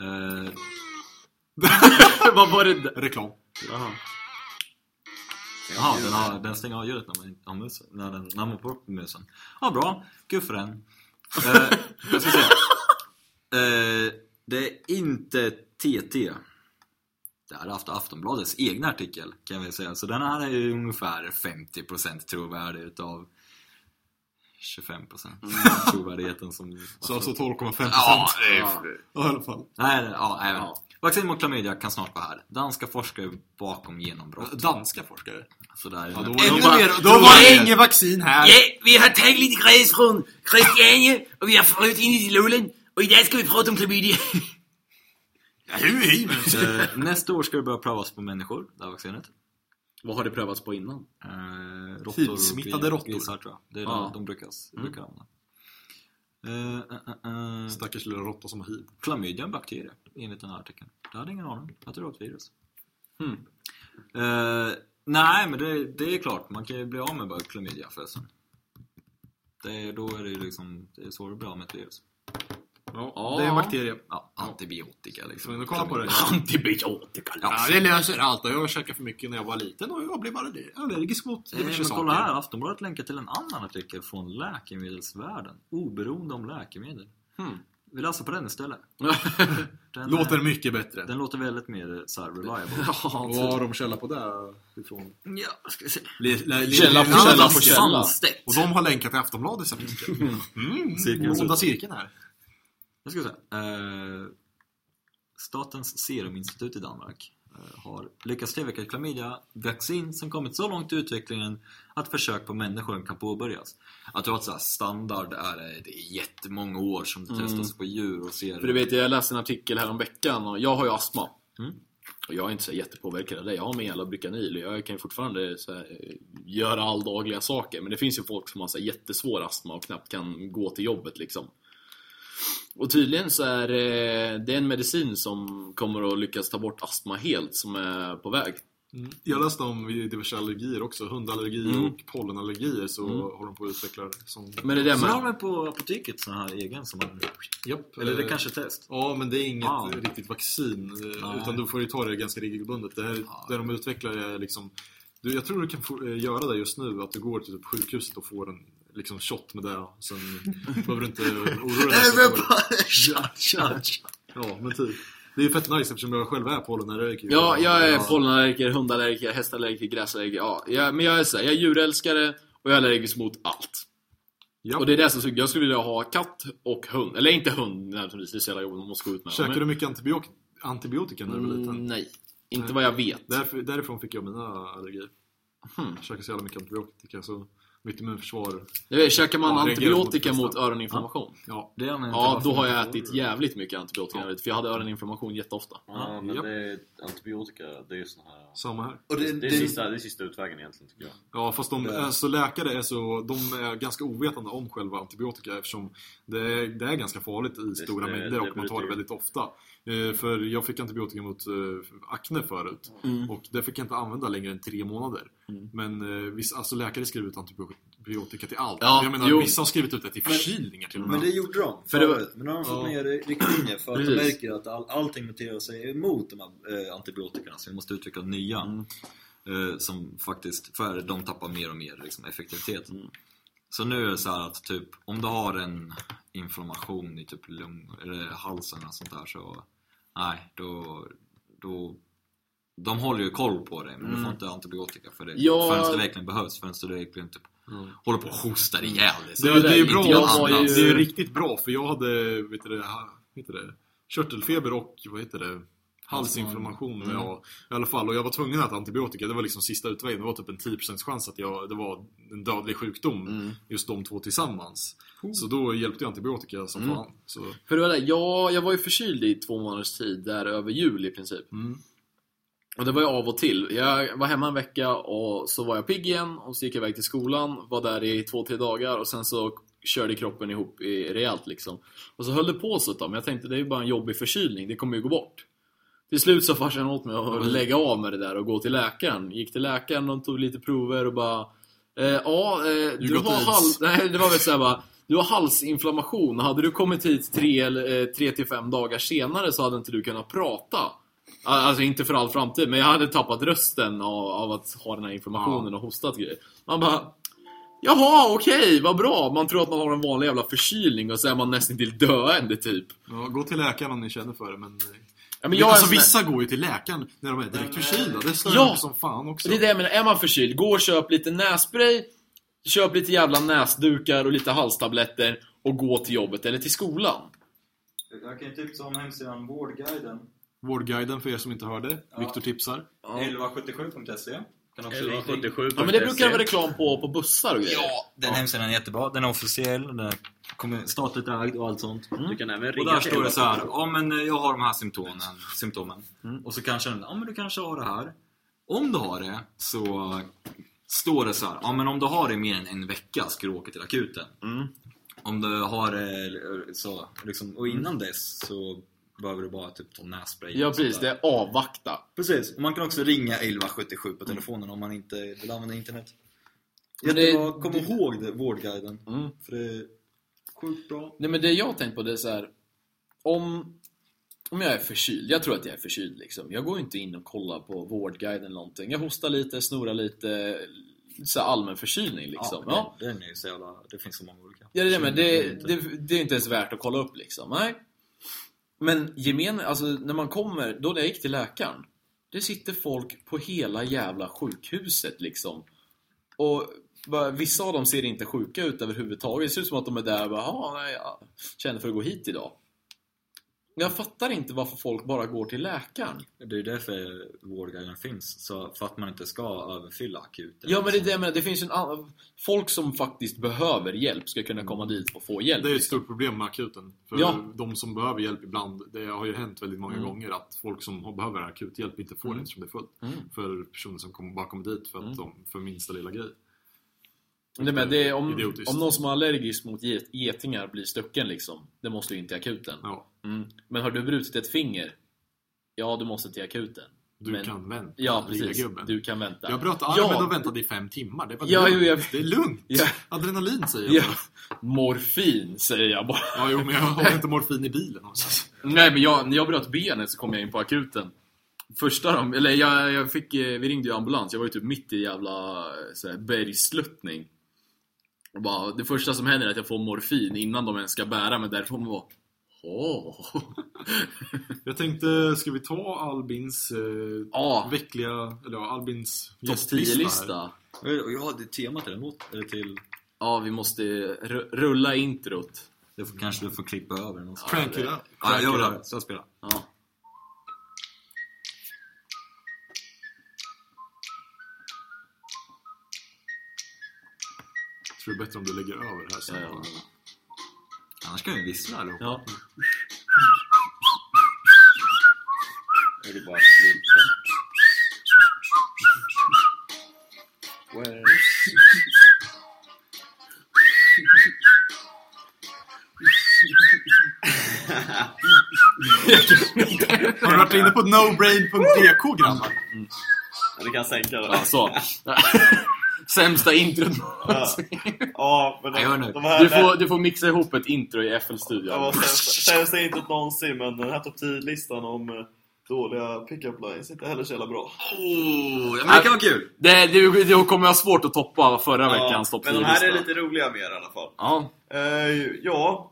Eh, [LAUGHS] Vad var det där? Reklam. Jaha, den, har, den stänger av ljudet när man, inte- av musen, när den, när man får upp musen. Ja, bra. Gud för den. [LAUGHS] Eh, jag ska se. Eh, det är inte TT. Det här är Aft- Aftonbladets egna artikel, kan vi säga. Så den här är ju ungefär 50% trovärdig utav 25% trovärdigheten som... Mm. Så alltså 12,5 Ja, procent. det är Ja. Ja, i alla fall. Nej, ja, nej, men. Ja. Vaccin mot klamydia kan snart vara här. Danska forskare bakom genombrott. Danska forskare. Sådär. Ja, då Ännu var- då mer var, då var trovärdigt. det inget vaccin här. vi har tagit lite gräs från Christiania och vi har fröjt in i lålen och idag ska vi prata om [LAUGHS] klamydia. Eh, Nästa år ska det börja prövas på människor, det här vaccinet. Vad har det prövats på innan? Eh, råttor Mm. och Hivsmittade gri- råttor. Grisar tror jag. Det är Ja. de, de brukas, brukar använda. Eh, eh, eh, eh. Stackars lilla råtta som har hiv. Klamydia är en bakterie, enligt den här artikeln. Jag hade ingen aning. Jag trodde det var ett virus. Hmm. Eh, nej, men det, det är klart. Man kan ju bli av med bara klamydia förresten. Det, är- då är det ju liksom, det är svårare att bli av med ett virus. Ja, det är en bakterie. Ja, antibiotika liksom. Så nu kolla på det. Antibiotika! Ja, det löser allt. Jag käkade för mycket när jag var liten och jag blev bara allergisk mot Eh, Men kolla här, Aftonbladet länkar till en annan artikel från Läkemedelsvärlden. Oberoende om läkemedel. Hmm. Vi läser på den istället. Den, Låter är, mycket bättre. den låter väldigt mer eh, så här reliable. Vad har de källa på det ifrån? Ja, ska vi se. Källa på källa på källa. Sandstedt. Och de har länkat till Aftonbladets artikel. Mm, Cirkeln Onda cirkeln här. Jag ska säga. Eh, Statens seruminstitut i Danmark eh, har lyckats tillverka ett klamydia-vaccin som kommit så långt i utvecklingen att försök på människor kan påbörjas. Att du har ett så här standard är det- det är jättemånga år som det Mm. testas på djur och ser... För du vet, jag läste en artikel här om veckan och jag har ju astma. Mm. Och jag är inte så jättepåverkad av det. Jag har min jävla Bucanil och jag kan ju fortfarande så här, eh, göra alldagliga saker. Men det finns ju folk som har så här, jättesvår astma och knappt kan gå till jobbet liksom. Och tydligen så är eh, det är en medicin som kommer att lyckas ta bort astma helt som är på väg. Jag läste om diverse allergier också. Hundallergier Mm. och pollenallergier så Mm. håller de på att utveckla sån... Men det är det Sen har med... de på apoteket sån här egen som man... Japp, Eller det eh, kanske är test. Ja, men det är inget Ah. riktigt vaccin. eh, Nej. Utan du får ju ta det ganska regelbundet. Det, här, Ah. det de utvecklar är liksom... Du, jag tror du kan få, eh, göra det just nu, att du går till typ sjukhuset och får en liksom, shot med det. och [LAUGHS] Sen behöver du inte eh, oroa dig. Ja, men typ. Det är ju fett nice eftersom jag själv är pollenallergiker. Ja, jag är pollenallergiker, hundallergiker, hästallergiker, gräsallergiker. Ja, jag, men jag är så här, jag är djurälskare och jag är allergisk mot allt. Ja. Och det är det som är så- Jag skulle vilja ha katt och hund. Eller inte hund nödvändigtvis, det är så jävla jobbigt man måste gå ut med. Käkade Men- du mycket antibiotika, antibiotika när du var liten? Mm, Nej, inte Nej. vad jag vet. Därför, därifrån fick jag mina allergier. Hmm. Jag käkade så jävla mycket antibiotika så mitt immunförsvar... Jag vet, Käkar man Ja, reagerar mot antibiotika testan. mot öroninflammation? Ja, Det är anledningen till Ja, varför då har man jag får- ätit jävligt mycket antibiotika när jag var liten, För jag hade öroninflammation jätteofta. Ja, men japp. det är antibiotika, det är ju sån här... samma här. Och det, Det är, sista, det är sista utvägen egentligen tycker jag. Ja, fast de, Det- alltså läkare är, så, de är ganska ovetande om själva antibiotika eftersom det är, det är ganska farligt i stora det- mängder det och man tar det bryter- väldigt ofta. Eh, För jag fick antibiotika mot eh, akne förut Mm. och det fick jag inte använda längre än tre månader. Mm. Men eh, visst, alltså läkare skriver ut antibiotika antibiotika till allt. Ja, jag menar, jo. vissa har skrivit ut det till förkylningar till och Men med. det gjorde de För det var- förut. Men nu har de fått Ja. ner riktlinjer för att de Precis. märker att all, allting muterar sig emot de här eh, antibiotikan. antibiotikan, så vi måste utveckla nya. Mm. Eh, som faktiskt, för de tappar mer och mer liksom, effektivitet. Mm. Så nu är det så här att typ, om du har en inflammation i typ lung, eller halsen eller sånt där så, nej, då, då de håller ju koll på dig men du får inte antibiotika för det Mm. Ja. förrän det verkligen behövs, förrän du verkligen typ håller på och hostar ihjäl dig. Det, var det, är ju det. bra, Inte jag var ju- det är ju riktigt bra för jag hade, vet du det, ha- vet du det körtelfeber och, vad heter det, halsinflammation Mm. ja, i alla fall. Och jag var tvungen att äta antibiotika, det var liksom sista utvägen. Det var typ en 10% chans att jag, det var en dödlig sjukdom, just de två tillsammans. Så då hjälpte ju antibiotika som Mm. fan. Så, För det var det, ja, jag var ju förkyld i två månaders tid, där över jul i princip. Mm. Och det var ju av och till. Jag var hemma en vecka och så var jag pigg igen och så gick jag iväg till skolan, var där i två, tre dagar och sen så körde kroppen ihop i rejält liksom. Och så höll det på så ett tag, men jag tänkte det är ju bara en jobbig förkylning, det kommer ju gå bort. Till slut så farsan åt mig att lägga av med det där och gå till läkaren. Gick till läkaren, de tog lite prover och bara eh, Ja, eh, du got har hals... Nej, det var väl såhär bara Du har halsinflammation. Hade du kommit hit eh, 3-5 dagar senare så hade inte du kunnat prata. Alltså inte för all framtid, men jag hade tappat rösten av, av att ha den här inflammationen och hostat grejer. Man bara Jaha, okej, vad bra. Man tror att man har en vanlig jävla förkylning och så är man nästan till döende typ. ja, gå till läkaren om ni känner för det. Men, Ja, men men jag är alltså, en sån där- vissa går ju till läkaren när de är direkt förkylda. Det stör Ja! ja. som fan också. Det är det jag menar, är man förkyld, gå och köp lite nässpray, köp lite jävla näsdukar och lite halstabletter och gå till jobbet eller till skolan. Jag kan ju typ tipsa om hemsidan Vårdguiden. Vårdguiden för er som inte hörde. Ja. Viktor tipsar. 1177.se kan också Eller- vara skit- 77 Ja men det brukar det vara reklam på, på bussar och grejer. Den hemsidan är jättebra, den är officiell, den är kommun- statligt ägd och allt sånt. Du kan även Och ringa där till står det så här, 1177. ja men eh, jag har de här symptomen. symptomen. Och så kanske den, ja men du kanske har det här. Om du har det så står det så här, ja men om du har det i mer än en vecka ska du åka till akuten. Om du har det så, liksom, och innan dess så behöver du bara typ ta nässpray. Ja och sånt precis, det där. är avvakta. precis. Och man kan också ringa 1177 på telefonen om man inte vill använda internet. Mm. Men det- Jättebra, kom ihåg det, Vårdguiden. Mm. För det är sjukt bra. Nej men det jag har tänkt på det är så här. Om, om jag är förkyld, jag tror att jag är förkyld liksom. Jag går ju inte in och kollar på Vårdguiden eller någonting. Jag hostar lite, snorar lite, så här allmän förkylning liksom. Ja, Ja, den, den är ju så jävla, det finns så många olika. Ja, det är det, men Det det, är inte- det, det är inte ens värt att kolla upp liksom. Nej. Men gemene, alltså när man kommer, då när jag gick till läkaren. Det sitter folk på hela jävla sjukhuset liksom. Och bara, vissa av dem ser inte sjuka ut överhuvudtaget. Det ser ut som att de är där och bara, "Ja, nej, jag känner för att gå hit idag. Jag fattar inte varför folk bara går till läkaren. Det är ju därför vårdguiden finns, så för att man inte ska överfylla akuten. Liksom. Ja men det är det jag menar, det finns ju en annan... Folk som faktiskt behöver hjälp ska kunna komma dit och få hjälp. Det är ett stort problem med akuten. För Ja. Mm. de som behöver hjälp ibland, det har ju hänt väldigt många gånger att folk som har- behöver akut hjälp inte får det eftersom det är fullt. Mm. För personer som kommer, bara kommer dit för, att de, för minsta lilla grej. Nej, men det är om, Idiotiskt. om någon som är allergisk mot get- getingar blir stucken liksom, det måste ju in till akuten. Ja, Mm. Men har du brutit ett finger? Ja, du måste till akuten. du Men- kan vänta, Ja, lilla precis. gubben. Du kan vänta. Jag bröt armen Ja. och väntade i fem timmar. Det, var Ja, lugnt. jo, jag- det är lugnt. Ja. Adrenalin säger jag. Ja, bara. morfin, säger jag bara. Ja, jo, men jag [LAUGHS] har inte morfin i bilen. alltså. också. Nej, men jag, när jag bröt benet så kom jag in på akuten. Första de, eller jag, jag fick, eh, vi ringde ju ambulans, jag var ju typ mitt i jävla eh, så här, bergsluttning. Och bara, det första som händer är att jag får morfin innan de ens ska bära mig därifrån och bara, åh. Jag tänkte, ska vi ta Albins eh, [LAUGHS] Ja, veckliga, eller ja, Albins Topp gästlista här? 10-lista. Ja, det är temat till den låt, eller till... Ja, vi måste ru- rulla introt. Det får, kanske du får klippa över den också. Crank it up. Ja, jag vill höra det, så jag spelar. Ja. Tror det är bättre om du lägger över det här sen. Ja, ja. Annars kan vi vissla allihop. Ja. Det är bara att Har du varit inne på nobrain.dk grabbar? Alltså. [LAUGHS] klippa. Ja, Du kan sänka det. så. Sämsta introt Ja, men Jag hör nu. de, de här... Du får, du får mixa ihop ett intro i Jag FL-studion. var sämsta introt någonsin, men den här topp 10-listan om eh, dåliga pickup lines är inte heller så jävla bra. Ja, men det kan vara [LAUGHS] kul! Det, det, det kommer jag svårt att toppa förra veckans topp men de här 10-lista. är lite roliga mer i alla fall. Ja. Eh, ja,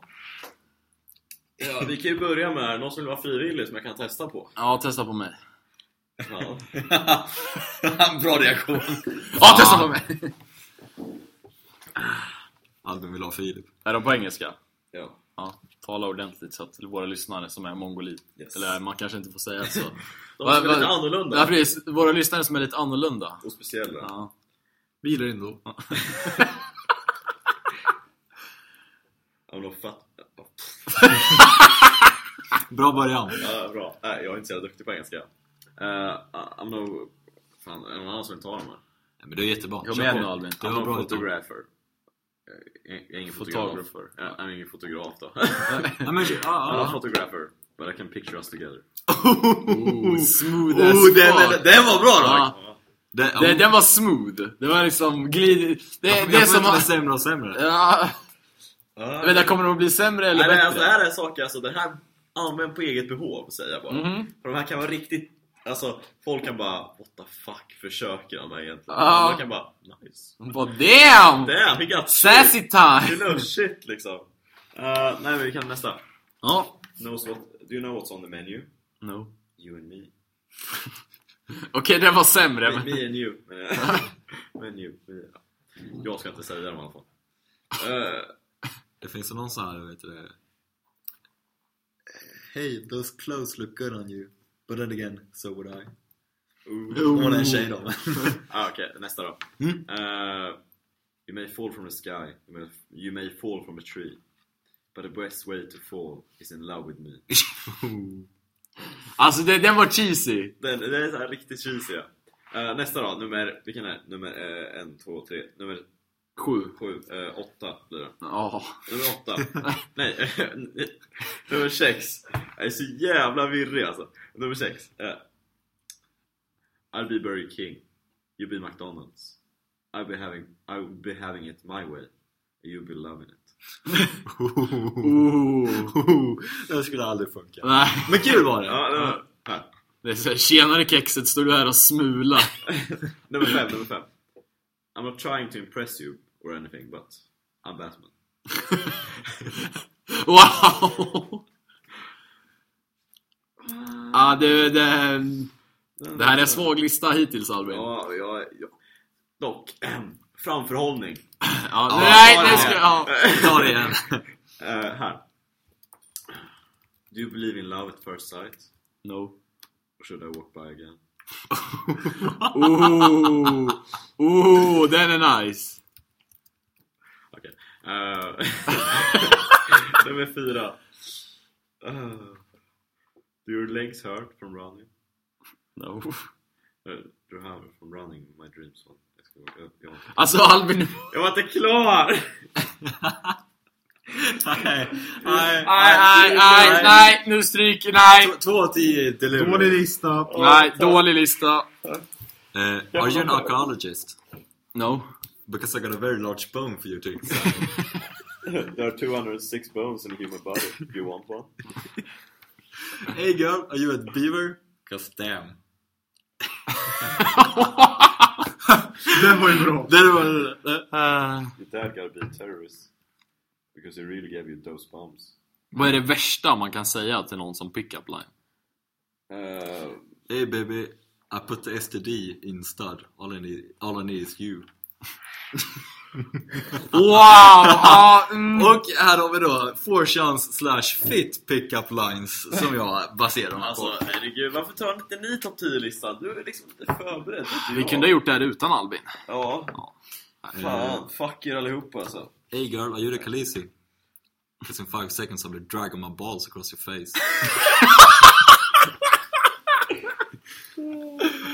Ja, vi kan ju börja med någon som vill vara frivillig som jag kan testa på. ja, testa på mig. Ja. Bra reaktion! Ja, testa på mig! Albin vill ha Filip. Är de på engelska? Ja. Ja, tala ordentligt så att våra lyssnare som är mongoli, Yes. eller man kanske inte får säga så. De som är Va- va- lite annorlunda. Ja, precis. Våra lyssnare som är lite annorlunda. Och speciella. Ja. Vi gillar det ändå. Ja, men de fattar. Bra början. Ja, bra. Nej, jag är inte så jävla duktig på engelska. Eh, I'm no... Fan, är det någon annan som vill ta dem här? Ja, men det är jättebra. Kom Kör igen på. nu Albin. Det var I'm bra a lite. photographer. Eh, Jag jag är ingen Photographer. fotograf. Jag jag är ingen fotograf då. Ja, men, ja, I'm a ja. photographer. But I can picture us together. Oh, smooth as Oh, den, fuck. den, den var bra då! Ja, Den, det, den var smooth. Det var liksom glid... Det, det är som... bli att- sämre och sämre. Ja, Ah. men där kommer de att bli sämre eller Nej, men alltså, det bättre? här är saker, alltså, det här använd på eget behov säger jag bara. Mhm. För de här kan vara riktigt, alltså folk kan bara what the fuck försöker han med egentligen? Ja. Man kan bara nice. Bara damn! Damn, we got Sassy time! shit! You know shit liksom. Eh, nej men vi kan nästa. Ja. Knows what, do you know what's on the menu? No. You and me. Okej, den var sämre. Me, Men... me and you. Men, eh, menu. [LAUGHS] vi- ja. Jag ska inte säga det i alla fall. Eh, Det finns ju någon sån här, vet du det? Hey, those clothes look good on you. But then again, so would I. ooh. Hon var en tjej då. men- oh. Ah, Okej, nästa då. Eh, you may fall from the sky, you may, you may fall from a tree. But the best way to fall is in love with me. Alltså det, den var cheesy. Den, den är så här riktigt cheesy. ja. Eh, nästa då, nummer, vilken är det? Nummer eh, en, två, tre, nummer Sju. sju, eh, åtta blir det. Ja. Nummer åtta. Nej, eh, nummer sex. Jag är så jävla virrig alltså. Nummer sex. eh, I'll be Burger King. You be McDonalds. I'll be having, I'll be having it my way. You'll be loving it. Oh. Det skulle aldrig funka. Nej. [LAUGHS] Men kul var det! [LAUGHS] Ja, nummer, här. Det är så här, tjenare kexet, står du här och smular? nummer fem, nummer fem. I'm not trying to impress you or anything but I'm Batman. Wow! Ja, det, det, det här är en svag lista hittills Albin. Ja, Ja, jag, jag, dock, [CLEARS THROAT] framförhållning. nej, ta det det. ska, ja. Ta det igen. Eh, här. Do you believe in love at first sight? No. Or should I walk by again? Ooh, ooh, Oh. den är nice. Okej. Eh, [LAUGHS] nummer fyra. Eh, do your legs hurt from running? No. Eh, do you have from running my dreams? One? Jag, ska, jag, jag, Alltså Albin, jag var inte klar! Nej, nej, nej, nej, nej, nu stryker, nej, Två av tio till Luleå. Dålig lista. nej, dålig lista. Eh, Are you an archaeologist? No. Because I got a very large bone for you to [LAUGHS] [LAUGHS] There are 206 bones in a human body. You want one? Hey girl, are you a beaver? Cause [LAUGHS] damn. Den var ju bra. Där var det! Your dad gotta be a terrorist. Because he really gave you those bombs. Vad är det värsta man kan säga till någon som pickup line? Eh, Hey baby, I put the STD in stud. All I need, all I need is you. Wow! Ja, mm. Och här har vi då 4chans slash fit pickup lines som jag baserar dem här på. Alltså herregud, varför tar inte ni topp 10-listan? Du är liksom inte förberedd. Vi kunde ha gjort det här utan Albin. Ja. Eh, Fan, fuck er allihopa alltså. hey girl, are you the Khaleesi? Cause in five seconds I'll be dragging my balls across your face. [LAUGHS]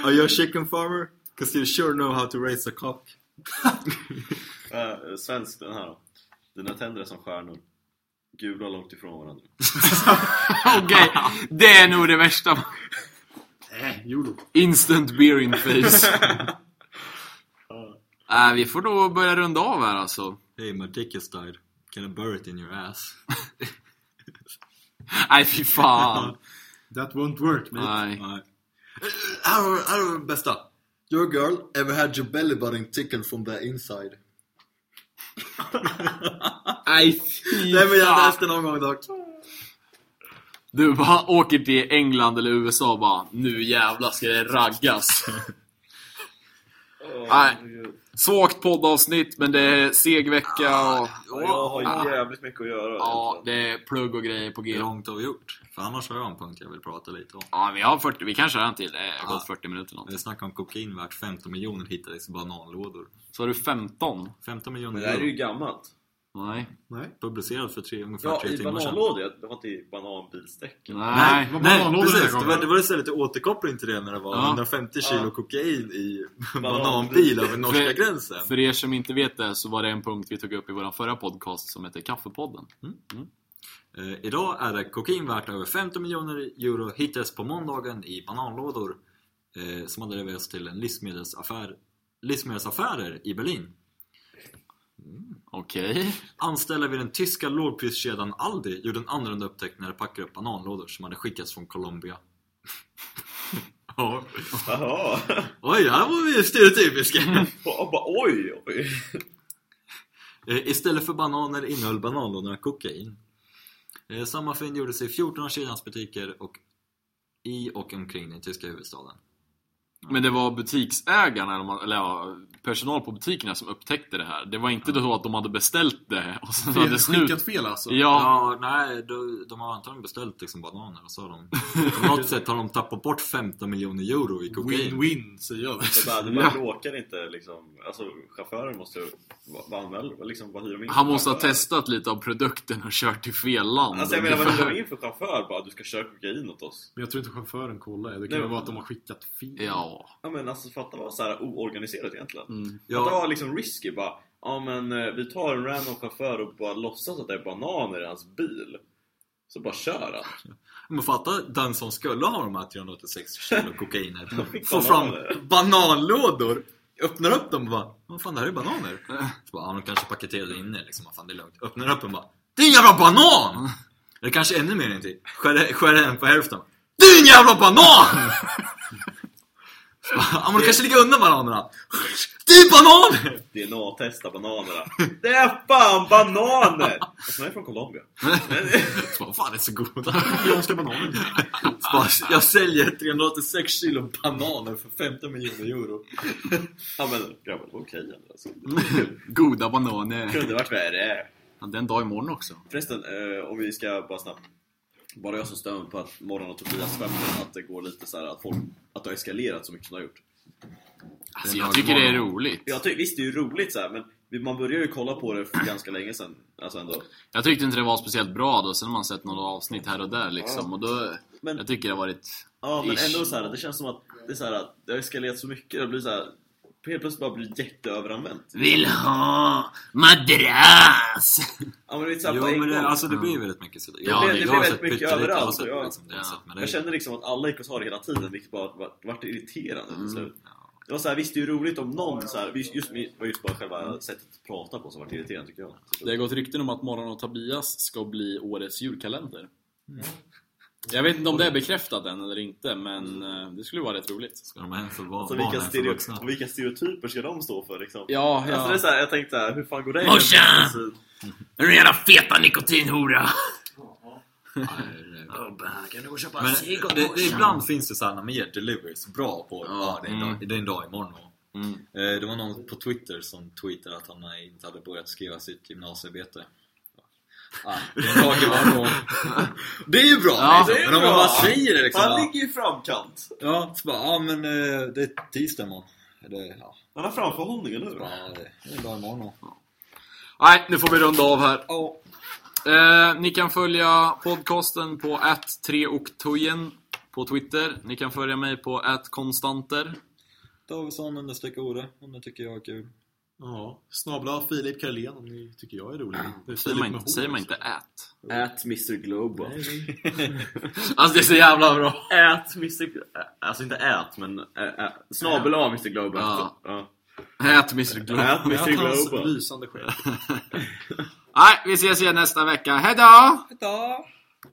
are you a chicken farmer? Cause you sure know how to raise a cock. Uh, svensk den här då. Dina tänder är som stjärnor. Gula långt ifrån varandra. [LAUGHS] Okej, det är nog det värsta. Äh, Eh, [LAUGHS] Instant beer in face. Äh, vi får då börja runda av här alltså. Hey, my dick has died. Can I bury it in your ass? Nej, fy fan. That won't work mate. Nej. Eh, Här har- här har vi den bästa. Your girl ever had your belly button tickled from the inside? Nej, fy Nej men jag fan. läste någon gång dock. Du bara åker till England eller USA och bara Nu jävlar ska det raggas. Nej. Svagt poddavsnitt men det är seg vecka och Ah, Jag har jävligt mycket att göra. ja, egentligen. det är plugg och grejer på Hur g. långt har vi gjort? För annars har jag en punkt jag vill prata lite om. Ja, vi har 40, vi kanske har en till. Det har gått 40 minuter någonting. Vi snackade om kokain värt 15 miljoner hittades i bananlådor. Så har du 15? Men 15 miljoner det här är euro. ju gammalt. Nej. Publicerad för tre, ungefär Ja, tre i timmar sedan. bananlådor. Det var inte i bananbilstäck. Nej. Vad Nej, bananlådor den här precis. Det gången. var, det var istället återkoppling till det när det var Ja. 150 kilo kokain i Banan- [LAUGHS] bananbil över norska För- gränsen. För er som inte vet det så var det en punkt vi tog upp i vår förra podcast som heter Kaffepodden. Eh, idag är det kokain värt över 15 miljoner euro hittades på måndagen i bananlådor eh, som hade levererats till en livsmedelsaffär, livsmedelsaffärer i Berlin. Okej. Anställda vid den tyska lågpriskedjan Aldi gjorde en annorlunda upptäckt när de packade upp bananlådor som hade skickats från Colombia. [LAUGHS] ja. [LAUGHS] Jaha. Oj, här var vi stereotypiska! Och bara, Oj, oj. Eh, Istället för bananer innehöll bananlådorna kokain. Eh, Samma fynd gjordes i 14 av Kinas butiker och i och omkring den tyska huvudstaden. Men det var butiksägarna, eller man- eller ja, personal på butikerna som upptäckte det här. Det var inte så att de hade beställt det och sen så hade Fel, det slut. skickat fel alltså. Ja, Ja, nej, de, de har antagligen beställt liksom bananer och så har de... På något sätt har de tappat bort 15 miljoner euro i kokain. Win-win säger jag. Det bara, det bara bråkar inte liksom. Alltså chauffören måste ju... Vad vad anmäl- liksom, vad hyr de in för han måste ha chaufför? testat lite av produkten och kört till fel land. Alltså jag menar vad hyr de in för chaufför? Bara, du ska köra kokain åt oss. Men jag tror inte chauffören kollar. Det kan Nej, väl men- vara att de har skickat fel. Ja. Ja men alltså fatta vad så här oorganiserat egentligen. Mm. Fatta Ja, vad liksom risky bara. Ja men eh, vi tar en random chaufför och bara låtsas att det är bananer i hans bil. Så bara kör han. men fatta den som skulle ha de här 386 kilo kokainer. Fick Få fram bananer. bananlådor! Öppnar upp dem och bara Vad fan det här är bananer! Så bara, ja, de kanske paketerade in det liksom, vad fan det är lugnt. Öppnar upp och bara Det är en jävla banan! Eller kanske ännu mer än till. Skär skär en på hälften. Det är en jävla banan! Så bara, Ja men du kanske ligger undan bananerna. [LAUGHS] Det är bananer! DNA-testa bananerna. Det är fan bananer! Alltså, de är från Colombia. Så bara, fan det är så goda. Japanska bananer. Så bara, jag säljer 386 kilo bananer för 15 miljoner euro. Ja men grabbar, det var okej ändå, alltså. Goda Det bananer. kunde varit värre. Ja, Det är en dag imorgon också. Förresten, eh, om vi ska bara snabbt. Bara jag som stör mig på att Morgon och Tobias skämtar att det går lite så här att folk, att det har eskalerat så mycket som det har gjort. Alltså, jag tycker det är roligt. Jag tycker, visst det är ju roligt så här, men vi- man började ju kolla på det för ganska länge sedan. Alltså ändå. Jag tyckte inte det var speciellt bra då, sen har man sett några avsnitt här och där liksom. Och då, Men- jag tycker det har varit... Ja men Ish. ändå så här, det känns som att det är så här, att det har eskalerat så mycket. Det blir så här, helt plötsligt bara blir jätteöveranvänt. Vill ha madrass. Ja men det är så här, Jo på en men det, gång. alltså det blir väldigt mycket sådär. Ja, det- det jag blir har väldigt sett mycket pyttelite, jag har överallt, sett och jag- liksom det, jag har sett, men det- Jag kände liksom att alla gick och sa det hela tiden, vilket bara vart, vart irriterande Mm, till slut. Det var så här, visst det är ju roligt om någon så här, just, just, det var just bara själva sättet att prata på som vart irriterande tycker jag. Det har gått rykten om att Morgon och Tobias ska bli årets julkalender. Jag vet inte om det är bekräftat än eller inte, men eh, det skulle vara rätt roligt. Ska de ha en för barn, Alltså, barn vilka, en för stereo, vuxna? och vilka stereotyper ska de stå för liksom? Ja, ja. Alltså, det är så här, jag tänkte så här, hur fan går det? Morsan! Alltså, Den jävla feta nikotinhora. Kan du gå och köpa eh, Men en cigg åt det, det, morsan? ibland finns det såhär när man ger deliveries bra på ja, det, är en mm. dag, det är en dag imorgon. Och, eh, det var någon på Twitter som tweetade att han inte hade börjat skriva sitt gymnasiearbete. Ah, det är en dag imorgon. Det är ju bra! Ja, liksom. det är men om man bra. bara säger det liksom. han bara, ligger ju i framkant! Ja, så bara, ja men eh, det är tisdag imorgon. Det, ja, Han har framförhållning, eller hur? bra, det det är en dag imorgon. och- Nej, nu får vi runda av här. Ja. Eh, ni kan följa podcasten på 3oktojen på Twitter. Ni kan följa mig på konstanter. Davidsson understreck Ore, om du tycker jag är kul. Ja. Snabla Filip Karlén om ni tycker jag är rolig. Det är Säger Filip man med inte, H, säger man alltså. inte ät? Ät Mr Globo. Alltså det är så jävla bra! Ät Mr Globo. Alltså inte ät, men ä, ä, snabel av Mr Globo. Ja. Ja. Ät Mr Globe. Ät Mr hans Global. lysande själ. Nej, vi ses igen nästa vecka. Hejdå! Hejdå!